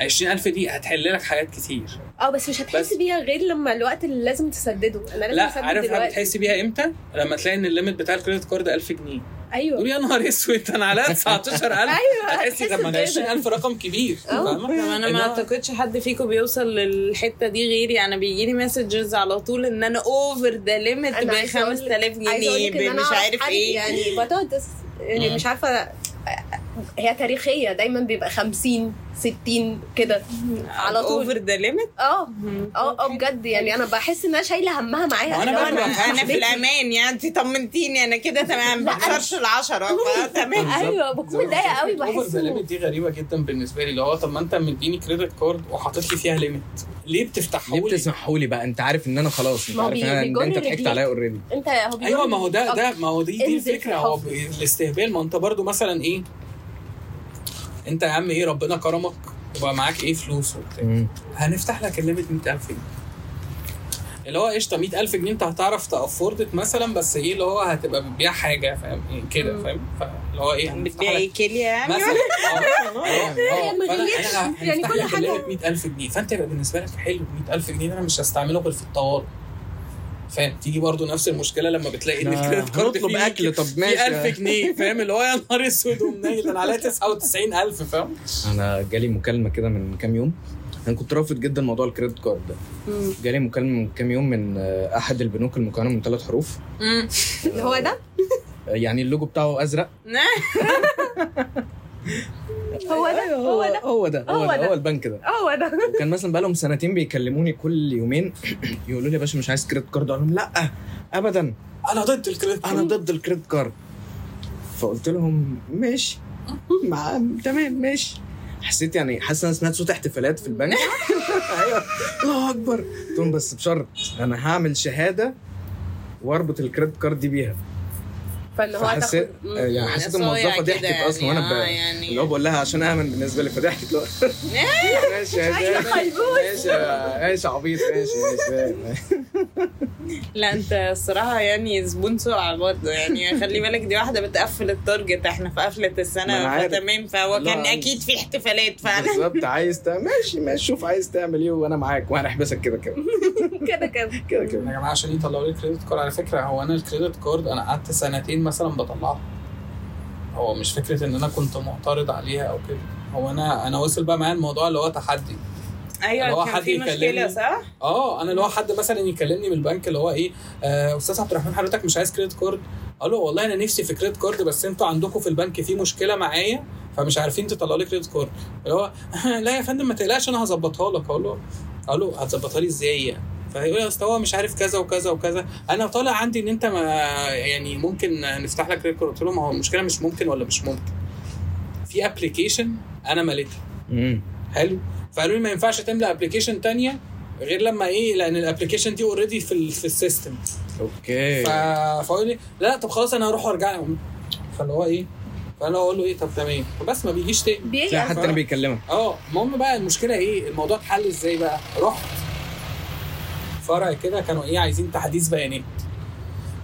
S3: 20000 دي هتحل لك حاجات كتير
S2: اه بس مش هتحس
S3: بس-
S2: بيها غير لما الوقت اللي لازم تسدده انا لازم
S3: لا
S2: اسدد
S3: عارف
S2: دلوقتي
S3: هتحس بيها امتى لما تلاقي ان الليميت بتاع الكريدت كارد 1000 جنيه
S2: ايوه
S3: تقول يا نهار اسود انا
S5: [LAUGHS]
S3: عليا 19000
S2: أيوة،
S3: هتحسي طب ما انا
S2: هتحس بكده.
S3: 20000 رقم كبير
S2: أه.
S5: طب انا ما اعتقدش حد فيكم بيوصل للحته دي غيري انا بيجي لي مسجز على طول ان انا اوفر ذا ليميت ب
S2: أنا عايزة أقول-
S5: 5000
S2: عايزه اقول
S5: جنيه
S2: لك ان
S5: ب-
S2: انا
S5: مش إيه.
S2: أعرف
S5: عارف
S2: حد
S5: ايه
S2: يعني بطاطس يعني
S3: إيه. مم.
S2: مش عارفه هي تاريخيه دايما بيبقى 50 60 كده على طول.
S5: اوفر ذا ليميت
S2: اه اه اه بجد يعني انا بحس ان انا شايله همها معايا
S3: ما أنا
S2: لو
S3: بقى ما
S5: انا انا في
S3: بيتي.
S5: الامان يعني انت طمنتيني انا كده تمام
S2: لا،
S5: ما
S2: أنا-
S5: بكسرش العشره
S3: آه،
S5: تمام
S2: ايوه بكون متضايقه قوي
S3: اوفر
S2: بحس
S3: ذا ليميت
S2: إنه-
S3: دي غريبه جدا بالنسبه لي اللي هو طب ما انت مديني كريدت كارد وحاطط لي فيها ليميت ليه بتفتحها
S1: ليه
S3: لي؟
S1: بتسمحولي بقى انت عارف ان انا خلاص انت
S2: ما هو
S1: عارف ان أنا-
S2: بيجر
S1: انت ضحكت
S2: رجليك.
S1: عليا اوريدي
S2: انت هو بيقول
S3: ايوه ما هو ده ده ما هو دي, دي
S2: انزل
S3: الفكره هو
S2: في
S3: ب- الاستهبال ما انت برضو مثلا ايه انت يا عم ايه ربنا كرمك وبقى معاك ايه فلوس وبتاع هنفتح لك الليميت 100000 جنيه اللي هو قشطه 100000 جنيه انت هتعرف تأفوردت مثلا بس ايه اللي هو هتبقى بتبيع حاجه فاهم إيه كده فاهم فاللي هو ايه هنفتح
S5: بتبيعي
S3: لك
S5: كيليا يعني
S3: مثلا
S2: [LAUGHS]
S3: آه، آه، آه،
S2: يعني ما
S3: فأنا-
S2: غليتش.
S3: أنا هنفتح
S2: يعني كل
S3: لك
S2: حاجة-
S3: الليميت 100000 جنيه فانت يبقى بالنسبه لك حلو 100000 جنيه ده انا مش هستعمله غير في الطوارئ فاهم تيجي برضو نفس المشكله لما بتلاقي ان الكريدت كارد
S1: هطلب
S3: فيه
S1: اكل طب
S3: في
S1: ماشي يعني.
S3: 1000 جنيه فاهم اللي هو يا نهار اسود ومنيل انا عليا 99000 فاهم
S1: انا جالي مكالمه كده من كام يوم انا كنت رافض جدا موضوع الكريدت كارد ده
S2: مم.
S1: جالي مكالمه من كام يوم من آه، احد البنوك المكونه من ثلاث حروف
S2: اللي هو ده
S1: آه، يعني اللوجو بتاعه ازرق
S5: نعم.
S2: هو ده أيوة، هو ده
S1: هو ده هو
S2: هو
S1: ده
S2: ده.
S1: هو البنك ده
S2: هو ده
S1: وكان مثلا بقالهم سنتين بيكلموني كل يومين [CLEARS THROAT] يقولوا لي يا باشا مش عايز كريدت كارد اقول لهم لا ابدا
S3: انا ضد الكريدت
S1: انا ضد الكريدت كارد فقلت لهم ماشي مع تمام ماشي حسيت يعني حاسس إن انا سمعت صوت احتفالات في البنك [LAUGHS] ايوه الله اكبر قلت لهم بس بشرط انا هعمل شهاده واربط الكريدت كارد دي بيها
S2: فاللي هو
S1: فحسيت
S2: هتاخد- مم. يعني.
S1: آه، يعني حسيت الموظفه ضحكت اصلا وانا
S2: آه،
S1: ب- اللي هو بقول لها عشان امن بالنسبه لي [LAUGHS] فضحكت لو- ماشي يا
S2: أيوة،
S1: شيخ.
S2: خيبوش.
S1: ماشي يا- ماشي يا عبيط ماشي ماشي
S5: لا انت الصراحه يعني زبون سرعه برضه يعني خلي بالك دي واحده بتقفل التارجت احنا في قفله
S1: ما أنا
S5: السنه
S1: عارف.
S5: فتمام فهو
S1: لا،
S5: كان
S1: أنا-
S5: اكيد في احتفالات فعلا
S1: بالظبط عايز تعمل ماشي ماشي شوف عايز تعمل ايه وانا معاك وهنحبسك كده كده
S2: [LAUGHS] كده كده
S1: كده
S3: يا
S1: كده
S3: جماعه عشان يطلعوا لي الكريدت كارد على فكره هو انا الكريدت كارد انا قعدت سنتين مثلا بطلعها هو مش فكره ان انا كنت معترض عليها او كده هو انا انا وصل بقى معايا الموضوع اللي هو تحدي اللي هو
S5: ايوه كان
S3: حد
S5: في مشكله
S3: يكلمني.
S5: صح؟
S3: اه انا اللي هو حد مثلا يكلمني من البنك اللي هو ايه آه، استاذ عبد الرحمن حضرتك مش عايز كريدت كارد اقول له والله انا نفسي في كريدت كارد بس انتوا عندكم في البنك في مشكله معايا فمش عارفين تطلعوا لي كريدت كارد اللي هو [LAUGHS] لا يا فندم ما تقلقش انا هظبطها لك اقول له اقول له هتظبطها لي ازاي يعني فهيقول لي اصل هو مش عارف كذا وكذا وكذا انا طالع عندي ان انت ما يعني ممكن نفتح لك كريدت كارد قلت له ما هو المشكله مش ممكن ولا مش ممكن في ابلكيشن انا مليتها حلو فقالوا لي ما ينفعش تملى ابلكيشن تانية غير لما ايه لان الابلكيشن دي اوريدي في ال- في السيستم
S1: اوكي
S3: ف- فقالوا لي لا طب خلاص انا هروح وارجع لهم فاللي هو ايه فانا اقول له ايه طب تمام بس ما بيجيش تاني
S2: بيجي
S1: تلاقي حد تاني بيكلمك
S3: اه المهم بقى المشكله ايه الموضوع اتحل ازاي بقى رحت فرع كده كانوا ايه عايزين تحديث بيانات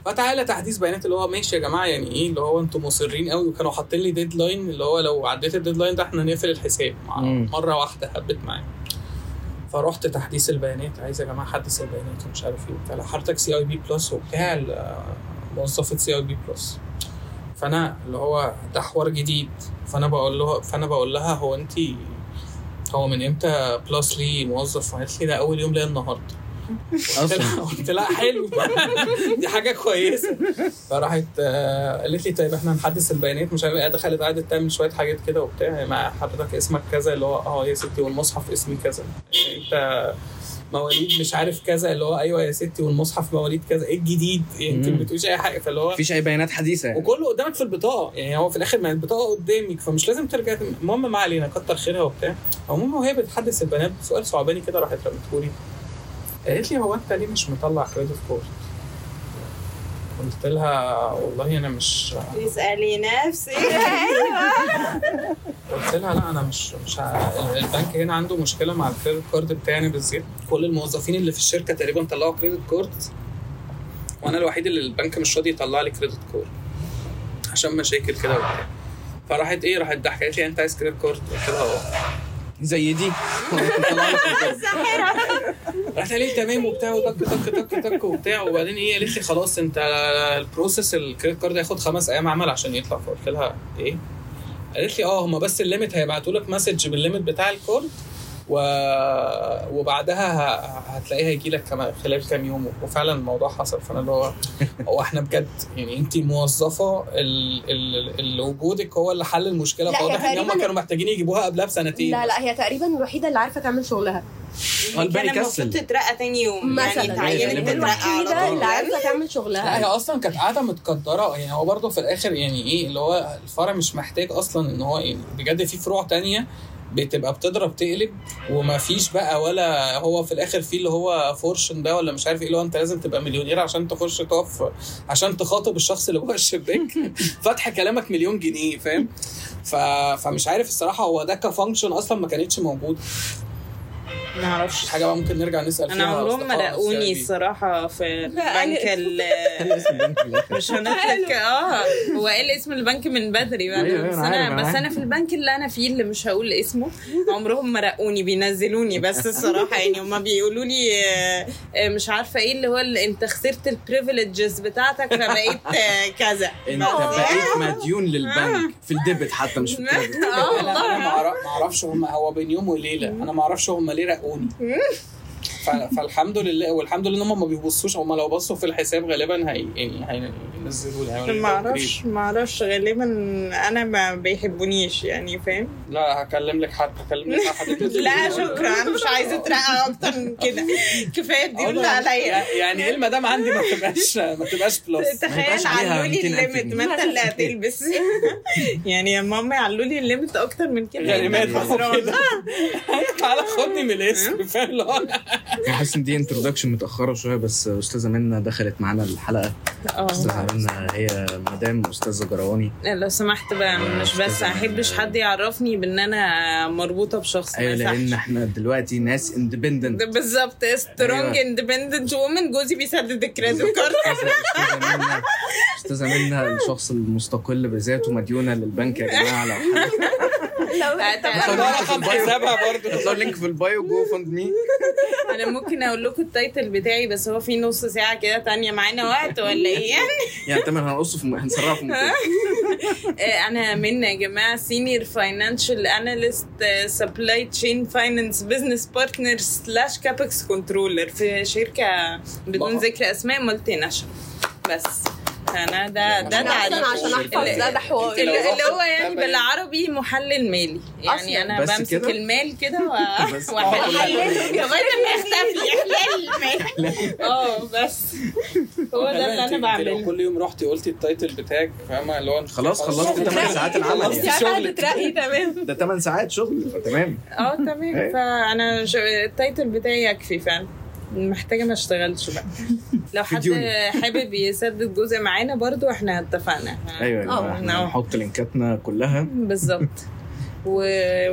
S3: فتعالى تحديث بيانات اللي هو ماشي يا جماعه يعني ايه اللي هو انتوا مصرين قوي وكانوا حاطين لي ديدلاين اللي هو لو عديت الديدلاين ده احنا نقفل الحساب مع-
S1: مم.
S3: مره واحده هبت معايا فرحت تحديث البيانات عايز يا جماعه حدث البيانات ومش عارف ايه وبتاع لا، حضرتك سي اي بي بلس وبتاع ال- موظفه سي اي بي بلس فانا اللي هو ده حوار جديد فانا بقول له فانا بقول لها هو انت هو من امتى بلس لي موظف قالت لي ده اول يوم ليا النهارده قلت [LAUGHS] لها- قلت لها حلو دي حاجه كويسه فراحت آه، قالت لي طيب احنا هنحدث البيانات مش عارف ايه دخلت قعدت تعمل شويه حاجات كده وبتاع مع حضرتك اسمك كذا اللي هو اه يا ستي والمصحف اسمي كذا يعني انت مواليد مش عارف كذا اللي هو ايوه يا ستي والمصحف مواليد كذا ايه الجديد إيه انت
S1: مم.
S3: ما بتقوليش اي حاجه فاللي هو
S1: مفيش اي بيانات حديثه يعني
S3: وكله قدامك في البطاقه يعني هو في الاخر ما البطاقه قدامك فمش لازم ترجع المهم ما علينا كتر خيرها وبتاع المهم وهي بتحدث البنات سؤال صعباني كده راحت رمتهولي قالت لي هو انت ليه مش مطلع كريدت كارد؟ قلت لها والله انا مش
S5: اسالي نفسي
S3: قلت لها لا انا مش مش ع- البنك هنا عنده مشكله مع الكريدت كارد بتاعي بالذات كل الموظفين اللي في الشركه تقريبا طلعوا كريدت كارد وانا الوحيد اللي البنك مش راضي يطلع لي كريدت كارد عشان مشاكل كده وبتاع فراحت ايه راحت ضحكت لي انت عايز كريدت كارد قلت لها اه
S1: زي دي
S3: راحت قالت لي تمام وبتاع وتك تك تك تك وبتاع وبعدين ايه قالت لي خلاص انت البروسيس الكريدت كارد هياخد خمس ايام عمل عشان يطلع فقلت إيه؟ آه، لها ايه قالت لي اه هما بس الليميت هيبعتوا لك مسج بالليميت بتاع الكارد و... وبعدها ه... هتلاقيها هيجي لك كمان خلال كام يوم وفعلا الموضوع حصل فانا اللي هو هو احنا بجد يعني انت موظفه ال... ال... اللي وجودك هو اللي حل المشكله
S2: لا، هي
S3: فواضح ان هم
S2: تقريباً-
S3: كانوا محتاجين يجيبوها قبلها بسنتين
S2: لا لا هي تقريبا الوحيده اللي عارفه تعمل شغلها
S1: الباقي
S5: كان المفروض
S1: كسل
S5: تترقى تاني يوم
S2: مثلا
S5: يعني اتعينت
S1: غالباً.
S5: تترقى
S2: الوحيده
S5: على طول
S2: اللي عارفه تعمل
S3: لا هي
S2: شغلها
S3: اصلا كانت قاعده متقدره يعني هو برضه في الاخر يعني ايه اللي هو الفرع مش محتاج اصلا ان هو يعني بجد في فروع تانية بتبقى بتضرب تقلب وما فيش بقى ولا هو في الاخر في اللي هو فورشن ده ولا مش عارف ايه اللي هو انت لازم تبقى مليونير عشان تخش تقف عشان تخاطب الشخص اللي جوه الشباك
S5: [LAUGHS]
S3: فتح كلامك مليون جنيه فاهم ف... فمش عارف الصراحه هو ده كفانكشن اصلا ما كانتش موجود
S5: ما اعرفش
S3: حاجه بقى ممكن نرجع نسال فيها
S5: انا عمرهم ما
S3: أصدقائنا
S5: لاقوني
S3: السياسيين.
S5: الصراحه في
S2: لا،
S5: البنك
S2: أنا-
S5: ال- [LAUGHS] مش هنفلك اه هو قال اسم البنك من بدري بقى
S1: أيوة، أيوة،
S5: بس
S1: أنا
S5: انا
S1: عارف، أنا
S5: بس انا في البنك اللي انا فيه اللي مش هقول اسمه عمرهم ما رقوني بينزلوني بس الصراحه يعني هما بيقولوا لي آه، آه، مش عارفه ايه اللي هو اللي انت خسرت البريفليجز بتاعتك فبقيت آه، كذا
S1: انت
S5: بس.
S1: بقيت مديون للبنك في الديبت حتى
S5: [LAUGHS]
S1: مش في الكريدت
S5: اه
S3: لا، انا ما
S5: والله
S3: أعرف- ما اعرفش هم هو بين يوم وليله انا ما اعرفش هم ليه رقوني ف- فالحمد لله والحمد لله ان هم ما بيبصوش هم لو بصوا في الحساب غالبا هي يعني هينزلوا لي هيعملوا لي
S5: ما
S3: upgrade.
S5: اعرفش ما اعرفش غالبا انا ما بيحبونيش يعني فاهم
S3: لا هكلم لك حد هكلم لك حد
S5: [LAUGHS] لا شكرا انا مش عايزه اترقى اكتر من كده كفايه دي اللي عليا
S3: يعني ايه المدام عندي ما تبقاش ما تبقاش
S5: [LAUGHS]
S3: بلس
S5: تخيل
S1: عليها
S5: علوا لي
S1: 200,000
S5: الليمت
S1: جنيه.
S5: ما انت اللي هتلبس [LAUGHS] يعني يا ماما علوا لي الليمت اكتر من كده
S3: يعني مات
S5: أنت خسران.
S3: [LAUGHS] تعالى خدني من الاسم فاهم اللي هو
S1: انا يعني حاسس ان دي انتروداكشن متاخره شويه بس استاذه منى دخلت معانا الحلقه استاذه منى هي مدام استاذه جراني
S5: لا، اه. لو سمحت بقى مش بس ما احبش حد يعرفني بان انا مربوطه بشخص ما
S1: ايوه لان
S5: يصحش.
S1: احنا دلوقتي ناس اندبندنت
S5: [LAUGHS] ده بالظبط سترونج
S1: أيوة.
S5: اندبندنت وومن جوزي بيسدد الكريدت
S1: [LAUGHS]
S5: كارد
S1: استاذه أستاذة منى استاذه منى الشخص المستقل بذاته مديونه للبنك يا جماعه لو حد
S5: آه،
S2: يعني
S3: هو رقم حسابها
S1: هتلاقوا
S3: برضه
S1: اللينك في البايو جو فند مي
S5: انا ممكن اقول لكم التايتل بتاعي بس هو في نص ساعه كده تانية معانا وقت ولا ايه
S1: يعني تمام هنقصه في م- هنسرعه في مكان
S5: آه، انا منى يا جماعه سينيور فاينانشال اناليست سبلاي تشين فاينانس بزنس بارتنر سلاش كابكس كنترولر في شركه بدون
S3: بابا.
S5: ذكر اسماء مالتي ناشونال بس انا ده ده
S2: انا اصلا
S5: تعريف
S2: عشان احفظ
S5: اللي-
S2: ده ده حوار
S3: لو
S5: اللي اللي هو
S3: رحت
S5: يعني
S3: تبقى-
S5: بالعربي محلل مالي
S2: أصلاً.
S5: يعني انا
S1: بس
S5: بمسك
S1: كده؟
S5: المال كده و-
S1: بس.
S5: واحلله
S2: أحلله.
S5: لغايه ما اختفي احلال المال اه بس هو ده اللي انا
S3: لو
S5: بعمله
S3: كل يوم رحتي قلتي التايتل بتاعك فاهمه اللي هو أنت
S1: خلاص خلصت 8 ساعات العمل
S3: خلصت
S1: يعني
S3: شغلك
S5: ترقي تمام
S1: ده 8 ساعات شغل تمام
S5: اه تمام
S1: إيه؟
S5: فانا ش- التايتل بتاعي يكفي فعلا محتاجه ما اشتغلش بقى لو حد
S1: فيديوني.
S5: حابب يسدد جزء معانا برضو احنا اتفقنا
S1: ايوه يا جماعة، احنا
S5: آه.
S1: هنحط لينكاتنا كلها
S5: يعني بالظبط و...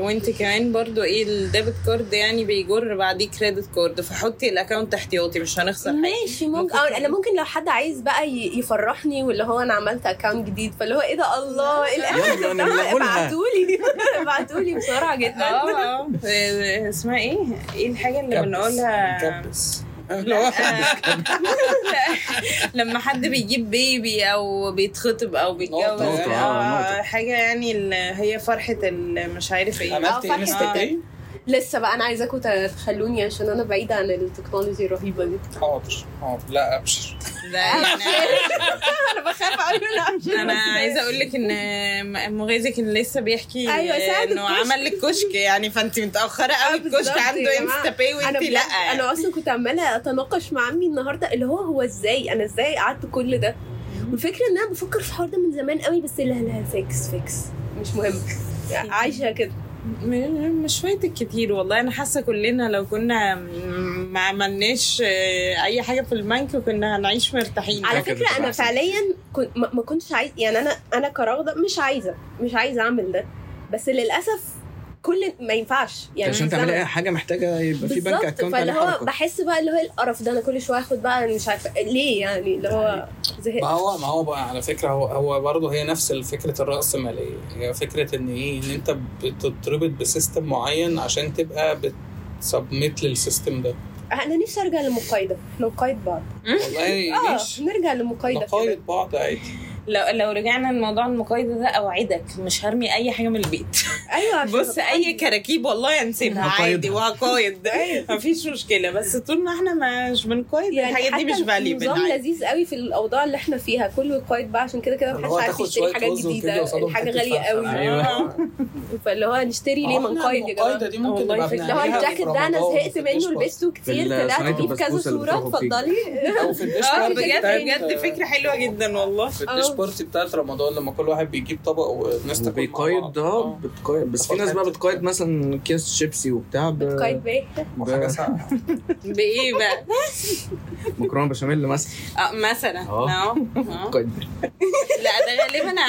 S5: وانت كمان برضو ايه الديبت كارد يعني بيجر بعديه كريدت كارد فحطي الاكونت احتياطي مش هنخسر حاجه
S2: ماشي ممكن أو انا ممكن لو حد عايز بقى ي- يفرحني واللي هو انا عملت اكونت جديد فاللي هو ايه ده الله ايه الاحساس
S1: يلا
S2: ده
S1: نلغولها.
S2: ابعتولي [LAUGHS] ابعتولي بسرعه جدا
S5: اه اه إيه- اسمها ايه؟ ايه الحاجه اللي بنقولها؟
S3: كبس [LAUGHS] اللي هو
S5: لما حد بيجيب بيبي او بيتخطب او بيتجوز
S3: نقطة،
S1: نقطة، آه،
S5: آه
S1: نقطة.
S5: حاجه يعني ال- هي فرحه ال- مش عارف ايه
S3: عملت
S2: فرحة
S3: إيه؟ انستا باي
S2: لسه بقى انا عايزاكم تخلوني عشان انا بعيده عن التكنولوجي الرهيبه دي
S3: حاضر حاضر لا ابشر
S5: ده يعني أنا-
S2: انا بخاف قوي من
S5: انا عايزه اقول لك ان م- مغازي كان لسه بيحكي
S2: أيوة، ساعد
S5: انه
S2: الكشك. آه،
S5: عمل لك كشك يعني فانت متاخره قوي الكشك عنده انستا باي وانت لا
S2: انا اصلا كنت عماله اتناقش مع عمي النهارده اللي هو هو ازاي انا ازاي قعدت كل ده والفكره ان انا بفكر في الحوار ده من زمان قوي بس لا لا فيكس فيكس مش مهم عايشه كده
S5: م- مش فايتك كتير والله انا حاسه كلنا لو كنا م- ما عملناش آه، اي حاجه في البنك كنا هنعيش مرتاحين
S2: على
S1: كده
S2: فكره
S1: تبقى
S2: انا
S1: أحسن.
S2: فعليا كنت ما ما كنتش عايز يعني انا انا كراغده مش عايزه مش عايزه اعمل ده بس للاسف كل ما ينفعش يعني
S1: عشان
S2: الزمن-
S1: تعملي اي حاجه محتاجه يبقى في بنك
S2: بالظبط
S1: اكونت
S2: فاللي
S1: عليه
S2: هو
S1: حركه
S2: بحس بقى اللي هو إيه القرف ده انا كل شويه اخد بقى مش عارفه ليه يعني اللي هو
S3: ما
S2: زهقت
S3: هو ما هو بقى على فكره هو هو برضه هي نفس فكره الراسماليه هي فكره ان ايه ان انت بتتربط بسيستم معين عشان تبقى بتسبميت للسيستم ده
S2: انا نفسي ارجع للمقايضه نقايض بعض
S3: والله
S2: اه [LAUGHS]
S3: مش
S2: نرجع للمقايضه كده
S3: نقايض بعض عادي
S5: لو لو رجعنا لموضوع المقايضه ده اوعدك مش هرمي اي حاجه من البيت
S2: ايوه عشان
S5: بص اي كراكيب والله هنسيبها عادي وهقايض [LAUGHS] مفيش مشكله بس طول ما احنا مش بنقايض الحاجات دي مش
S2: نظام
S5: فاليبل
S2: يعني لذيذ قوي في الاوضاع اللي احنا فيها كله قايد بقى عشان كده كده
S4: اللي
S2: محدش
S4: هو
S2: عارف
S4: تاخد
S2: يشتري
S4: شوية
S2: حاجات
S4: رز وتدي
S2: جديده
S4: قصادهم أيوة.
S2: الحاجه
S4: حتة
S2: غاليه
S4: فرخة.
S2: قوي [LAUGHS] فاللي هو هنشتري
S4: آه،
S2: ليه من قايد يا جماعه
S3: القايده آه، دي ممكن
S5: والله
S3: نبقى
S5: فكرة.
S2: اللي هو
S3: بنعملها في
S2: الجاكيت ده انا
S3: رمضان
S2: زهقت
S3: في
S2: منه
S3: الديش
S2: لبسته كتير
S1: في
S2: طلعت
S1: صينية
S2: فيه بكذا
S1: البسبوسة اللي
S2: صوره
S1: بتاخد
S4: [LAUGHS]
S1: فيك.
S2: اتفضلي [LAUGHS]
S3: بارتي. او في الديش
S5: اه
S3: بارتي
S5: بجد
S3: بتاعت-
S5: بجد فكره حلوه جدا [LAUGHS] والله
S3: في الديش
S2: أو.
S3: بارتي بتاعت رمضان لما كل واحد بيجيب طبق والناس تاكل مع
S1: وبيقيد
S3: بعض.
S1: ده بتقيد بس في ناس بقى بتقيد مثلا اكياس شيبسي وبتاع ب-
S2: بتقايد بايه
S4: آه،
S3: وحاجه ساقعه
S5: بايه بقى
S1: مكرونه بشاميل مثلا
S5: [LAUGHS] آه مثلا
S1: آه.
S5: آه. آه.
S1: بتقيد.
S5: لا ده غالبا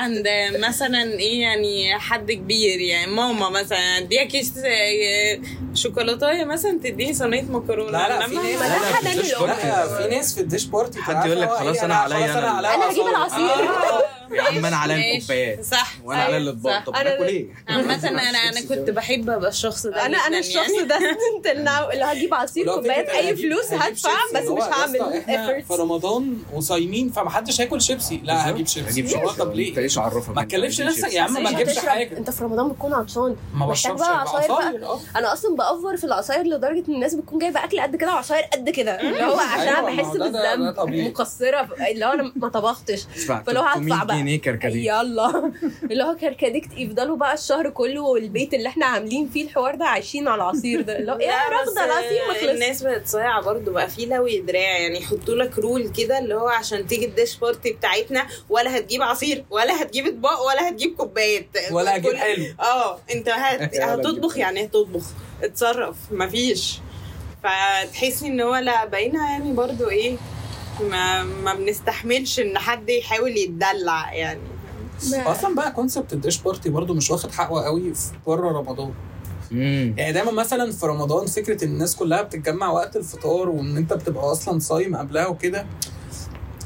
S5: عند مثلا ايه يعني حد كبير يعني ماما مثلا اديها كيس آه، شوكولاتايه مثلا تديني صينيه مكرونه
S3: لا، لا،
S5: لما-
S3: في ناس-
S2: ما
S1: لا،
S2: ده
S1: لا،
S2: حلال
S1: في الديش
S2: الأمة.
S1: بارتي.
S3: لا في ناس في الديش بارتي
S1: حد
S3: بتاعها
S1: يقول لك
S3: هو
S1: خلاص
S3: إيه،
S1: أنا عليا
S3: خلاص
S1: أنا
S3: انا عليا
S2: انا
S4: آه،
S2: هجيب
S3: عصاير.
S2: العصير
S5: آه،
S1: يا عم انا عليا
S5: ماشي،
S1: الكوبايات
S5: صح
S1: وانا عليا
S5: صح،
S1: الاطباق
S5: صح.
S1: طب
S2: أنا-
S1: ناكل ايه؟
S5: عامة انا انا كنت بحب ابقى الشخص ده
S2: انا انا
S5: جداً
S2: الشخص
S5: يعني.
S2: ده [LAUGHS] انت اللي هجيب عصير
S3: ولو
S2: كوبايات
S3: فكرة
S2: اي
S3: هجيب-
S2: فلوس
S3: هجيب
S2: هدفع
S3: شيبسي،
S2: بس
S3: اللي هو
S2: مش
S3: يا
S2: هعمل
S3: اسطى احنا في
S2: efforts
S3: رمضان وصايمين فمحدش هياكل شيبسي لا هجيب شيبسي
S1: هجيب
S3: هو
S1: شيبسي
S3: طب
S1: انت
S3: ليه
S1: ايش عرفك
S3: ما
S1: أنت
S3: تكلفش
S1: هتجيب
S3: نفسك
S1: شيبسي؟
S3: يا عم ما
S2: مش
S3: تجيبش
S2: هتشرب.
S3: حاجه
S2: انت في رمضان بتكون عطشان
S3: ما
S2: محتاج
S3: بشربش
S2: بقى عصاير بقى.
S3: عصاير اه
S2: انا اصلا بافور في العصاير لدرجه ان الناس بتكون جايبه اكل قد كده وعصاير قد [LAUGHS] كده اللي هو عشان
S3: أيوة،
S2: أنا
S3: ما
S2: بحس
S3: هو ده- ده- ده
S2: بالذنب
S3: طبيعي.
S2: مقصره اللي هو انا ما
S3: [LAUGHS]
S2: طبختش
S1: تدفع
S2: فلو هدفع
S1: 300
S2: بقى.
S1: جنيه كركديه
S2: يلا اللي هو كركديكت يفضلوا بقى الشهر كله والبيت اللي احنا عاملين فيه الحوار ده عايشين على العصير ده اللي هو [LAUGHS] ايه
S5: لا،
S2: يا
S5: بس
S2: رافضه العصير ما خلص
S5: الناس بقت صايعه برضه بقى في لوي دراع يعني يحطوا لك رول كده اللي هو عشان تيجي الديش بارتي بتاعتنا ولا هتجيب عصير ولا هتجيب اطباق ولا هتجيب كوبايات
S3: ولا هجيب
S5: كل-
S3: حلو.
S5: اه انت هت...
S1: ولا هتجيب
S5: هتطبخ
S1: حلو.
S5: يعني هتطبخ اتصرف مفيش فتحسي ان هو لا بقينا يعني برضه ايه ما, ما بنستحملش ان حد يحاول يتدلع يعني
S3: اصلا بقى كونسبت الديش بارتي برضو مش واخد حقه قوي في بره رمضان
S1: مم.
S3: يعني دايما مثلا في رمضان فكره ان الناس كلها بتتجمع وقت الفطار وان انت بتبقى اصلا صايم قبلها وكده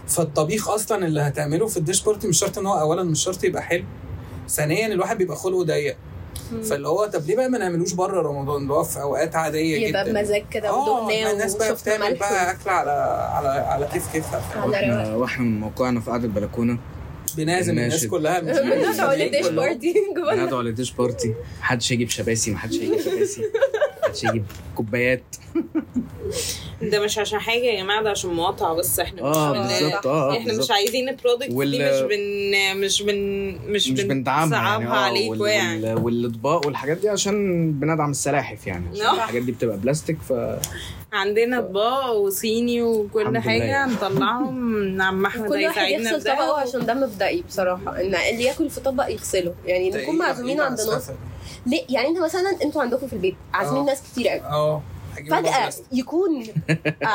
S3: فالطبيخ اصلا اللي هتعمله في الديش بارتي مش شرط ان هو اولا مش شرط يبقى حلو ثانيا الواحد بيبقى خلقه ضيق فاللي هو طب ليه بقى ما نعملوش بره رمضان اللي هو في اوقات عاديه
S2: يبقى
S3: جدا
S2: بمزاج كده
S3: اه
S2: ودهناه
S3: الناس بقى
S2: وشفت
S3: بتعمل
S2: ملح
S3: بقى اكل على على على كيف كيفها
S2: على [LAUGHS]
S1: واحنا واحنا من موقعنا في قعده البلكونه
S3: بنعزم الناس
S1: ماشي.
S2: [LAUGHS]
S3: كلها مش-
S2: بندفع ولا ديش
S3: كلهم.
S2: بارتي جوانا
S1: بنقعدوا يعني على ديش بارتي محدش هيجيب شباسي محدش هيجيب شباسي محدش هيجيب كوبايات
S5: ده مش عشان حاجه يا جماعه ده عشان مقاطعه بس احنا مش
S1: اه
S5: بن-
S1: بالظبط اه
S5: يعني احنا مش
S1: بالظبط.
S5: عايزين البرودكت دي
S1: وال-
S5: مش بن مش بن مش,
S1: مش
S5: بن-
S1: بندعمها يعني
S5: صعبها
S1: اه وال-
S5: عليكوا يعني
S1: وال- والاطباق والحاجات دي عشان بندعم السلاحف يعني عشان
S5: آه.
S1: الحاجات دي بتبقى بلاستيك ف
S5: عندنا اطباق وصيني وكل
S1: الحمد
S5: حاجه
S1: لله. يعني.
S5: نطلعهم نعم، عم احمد
S2: كل واحد
S5: هيساعدنا
S2: يغسل
S5: في ده.
S2: طبقه عشان ده مبدئي بصراحه ان اللي ياكل في طبق يغسله يعني
S3: ده
S2: نكون
S3: إيه؟
S2: معزومين
S3: إيه
S2: عند
S3: العسفة
S2: ناس ليه يعني انت مثلا انتوا عندكم في البيت عازمين
S3: آه.
S2: ناس كتير
S3: [LAUGHS]
S2: قوي
S3: اه هجيب البابا
S2: فجاه
S3: بس.
S2: يكون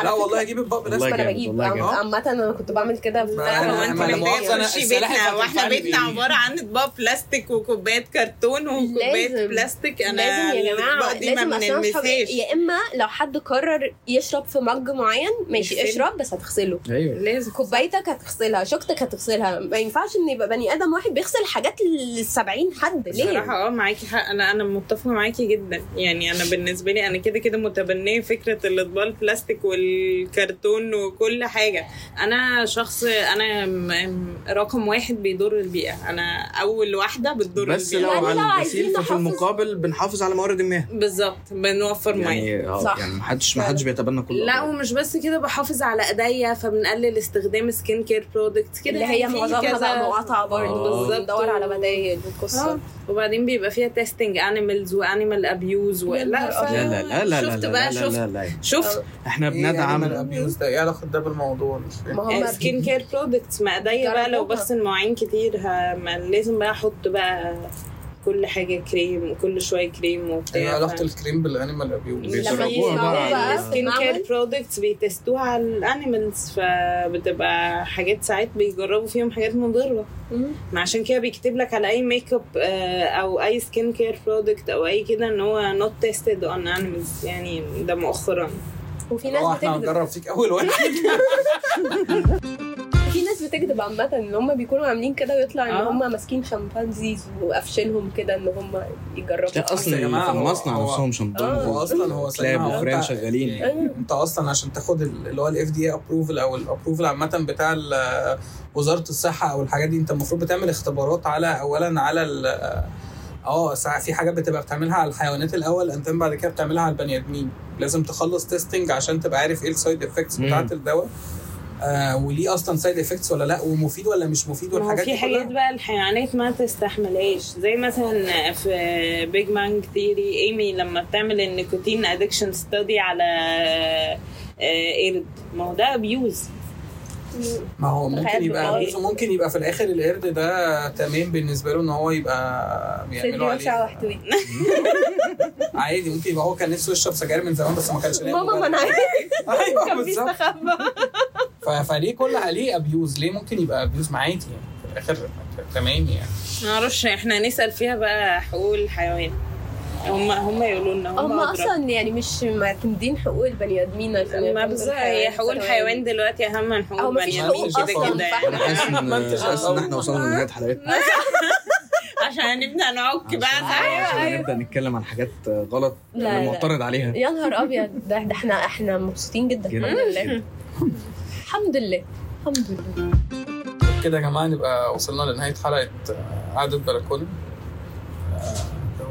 S3: لا والله هجيب الباب
S1: والله
S3: بس
S2: انا
S1: جامد،
S2: بجيب
S1: والله جامد.
S2: عامه انا كنت بعمل كده في-
S3: ما-
S5: آه، هو
S3: ما-
S5: انت
S3: ما-
S5: محتاج
S3: مؤاخذة، أنا
S5: تخشي
S3: السلاحف
S5: بيتنا واحنا
S3: هتنفعني
S5: بيتنا
S3: بإيه؟
S5: عباره عن اطباق بلاستيك وكوبايات كرتون وكوبايات
S2: لازم.
S5: بلاستيك انا
S2: لازم يا
S5: الأطباق
S2: جماعه
S5: دي ما
S2: لازم عشان أصحاب-
S5: بنلمسهاش
S2: يا اما لو حد قرر يشرب في مج معين ماشي
S5: يغسله.
S2: اشرب بس هتغسله
S3: أيوة.
S1: ايوه
S5: لازم
S2: كوبايتك هتغسلها شوكتك هتغسلها ما ينفعش ان يبقى بني ادم واحد بيغسل حاجات لل 70 حد ليه
S5: بصراحة اه معاكي حق انا انا متفقة معاكي جدا يعني انا بالنسبة لي انا كده كده متبنية فكرة الاطباق البلاستيك والكرتون وكل حاجة انا شخص انا م- م- رقم واحد بيضر البيئة انا اول واحدة بتضر
S1: بس
S5: البيئة
S1: لو
S2: يعني لو
S1: على
S2: عايزين
S1: الغسيل ففي
S2: نحافظ-
S1: المقابل بنحافظ على موارد المياه
S5: بالظبط بنوفر مية
S1: يعني اه
S2: صح.
S1: يعني محدش محدش بيتبنى كل
S5: لا
S1: الأوضاع.
S5: ومش بس كده بحافظ على ايديا فبنقلل استخدام سكين كير برودكت كده
S2: اللي هي
S5: يعني في
S2: معظمها
S5: كذا-
S2: بقى مقاطعه برضه
S1: آه.
S2: بالظبط ندور على بدايل والقصه
S5: آه. وبعدين بيبقى فيها تيستنج انيمالز وانيمال ابيوز و...
S2: يا
S5: لا
S2: نهار
S5: ف-
S1: لا لا لا لا لا
S5: شفت
S1: لا
S5: بقى
S1: لا
S5: شفت
S1: لا لا
S5: شفت
S1: احنا
S3: إيه يعني
S1: بندعم
S3: الابيوز ده ايه علاقه ده بالموضوع
S2: ما
S1: إيه،
S2: هم
S5: سكين كير برودكتس ما ايديا بقى لو
S2: آه، جربوها.
S5: بغسل مواعين كتير ه- ما لازم بقى احط بقى كل حاجه كريم وكل شويه كريم
S3: ايه
S5: وبتاع
S3: علاقه الكريم بالانيمال ابيوز
S1: بيشربوها
S2: لما
S1: بقى.
S2: يسمعوا بقى في
S5: السكين
S2: المعمل،
S5: كير برودكتس بيتستوها على الانيمالز فبتبقى حاجات ساعات بيجربوا فيهم حاجات مضره
S2: مم.
S5: ما عشان كده بيكتب لك على اي ميك اب آه، او اي سكين كير برودكت او اي كده ان هو نوت تيستد اون انيمالز يعني ده مؤخرا
S2: وفي
S3: اه
S2: ناس
S3: احنا
S2: بتكذب
S3: هنجرب فيك اول واحد
S2: في ناس تكذب عامة ان هم بيكونوا عاملين كده ويطلع ان
S5: آه.
S2: هم ماسكين شمبانزيز وقافشينهم كده ان هم يجربوا
S1: لا اصلا
S3: إيه يا
S1: اللي
S3: جماعة
S1: في
S3: هو-
S1: المصنع
S3: هو-
S1: نفسهم شمطان
S2: آه.
S3: هو اصلا هو
S1: كلاب
S3: سماعة.
S1: وفران
S3: [LAUGHS] أنت-
S1: شغالين
S3: [LAUGHS]
S1: يعني
S2: أيوة.
S3: انت اصلا عشان تاخد ال- اللي هو الاف دي اي ابروفل او الابروفل عامه بتاع ال- وزاره الصحه او الحاجات دي انت المفروض بتعمل اختبارات على اولا على ال اه ساعة في حاجات بتبقى بتعملها على الحيوانات الاول انت بعد كده بتعملها على البني ادمين لازم تخلص تيستنج عشان تبقى عارف ايه السايد افكتس
S1: مم.
S3: بتاعه الدواء آه وليه اصلا سايد افكتس ولا لا ومفيد ولا مش مفيد
S5: ما هو
S3: والحاجات
S5: في
S3: دي
S5: حاجات
S3: كلها
S5: بقى الحيوانات ما تستحملهاش زي مثلا في بيج مانج ثيري ايمي لما بتعمل النيكوتين ادكشن ستادي على آه، قرد ما هو ده ابيوز
S3: ما هو ممكن
S2: تخيل
S3: يبقى
S2: بقى.
S3: ممكن يبقى في الاخر القرد ده تمام بالنسبه له ان هو يبقى
S2: سيدي
S3: بيعملوا
S2: وسع
S3: عليه
S2: واحتوي
S3: عادي ممكن يبقى هو كان نفسه يشرب سجاير من زمان بس ما كانش لاقي
S2: ماما ما
S3: مبرر.
S2: انا عايز
S3: [LAUGHS] ايوه
S2: كان
S3: بالظبط
S2: بيستخبى
S3: ف- فليه كل عليه ابيوز ليه ممكن يبقى ابيوز ما عادي يعني في الاخر تمام يعني
S5: معرفش احنا هنسال فيها بقى حقوق الحيوان هم هم يقولوا لنا هم
S2: هم
S5: أدرى.
S2: اصلا يعني مش معتمدين حقوق البني ادمين عشان
S5: ما
S2: يعتمدوا
S5: بالظبط
S2: الحيوان
S5: هي حقوق
S2: كمان.
S5: الحيوان دلوقتي اهم من حقوق
S2: أو مفيش
S5: البني
S2: حقوق
S5: ادمين كده
S2: أصلا، [LAUGHS]
S5: كده
S1: انا
S5: يعني
S1: حاسس ان
S3: ما انتش
S1: حاسس ان احنا
S3: أصلاً.
S1: وصلنا
S5: [LAUGHS]
S1: لنهايه حلقتنا
S5: عشان نبدا نعك بقى
S1: عشان-
S5: تعالى.
S1: عشان نبدا نتكلم عن حاجات غلط
S2: لا،
S1: انا
S2: لا.
S1: معترض
S2: [LAUGHS]
S1: عليها
S2: يا نهار ابيض ده, ده احنا احنا مبسوطين جدا
S1: جدا
S2: الحمد لله الحمد لله الحمد لله
S3: كده يا جماعه نبقى وصلنا لنهايه حلقه آه، قعده بلكونه آه،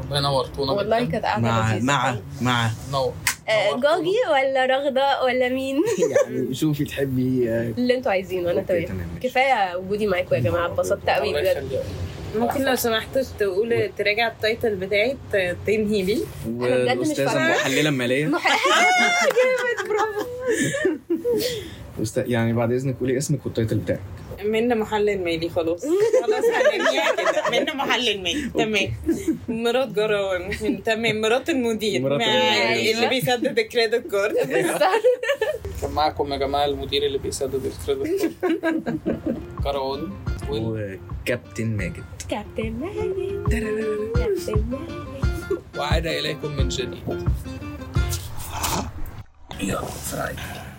S3: والله نورتونا
S2: والله
S3: جدا.
S2: كانت قاعده
S1: مع
S2: لذيذة.
S1: مع مع
S3: نور
S2: آه،
S3: نورتونا.
S2: جوجي ولا رغده ولا مين
S1: يعني شوفي تحبي آه،
S2: اللي انتوا عايزينه انا
S1: أوكي،
S2: تمام
S1: تمام ماشي.
S2: كفايه وجودي معاكم يا جماعه اتبسطت قوي
S3: الله
S2: بجد
S3: يخليك.
S5: ممكن لو سمحت تقول تراجع التايتل بتاعي ت- تنهي بيه
S2: بجد مش
S1: والاستاذه
S2: فاهمة.
S1: محلله ماليه وست- يعني بعد اذنك قولي اسمك والتايتل بتاعك
S5: من محلل مالي
S1: [LAUGHS]
S5: خلاص خلاص هنرميها كده من محلل مالي تمام مرات جرام تمام مرات المدير
S1: مرات
S5: مع
S1: المدير.
S5: اللي بيسدد الكريدت كارد
S3: كان معكم يا جماعه المدير اللي بيسدد الكريدت
S2: [LAUGHS]
S3: كروان وال-
S1: وكابتن ماجد
S2: [LAUGHS] كابتن ماجد كابتن ماجد
S3: وعاد اليكم من جديد يا فرايد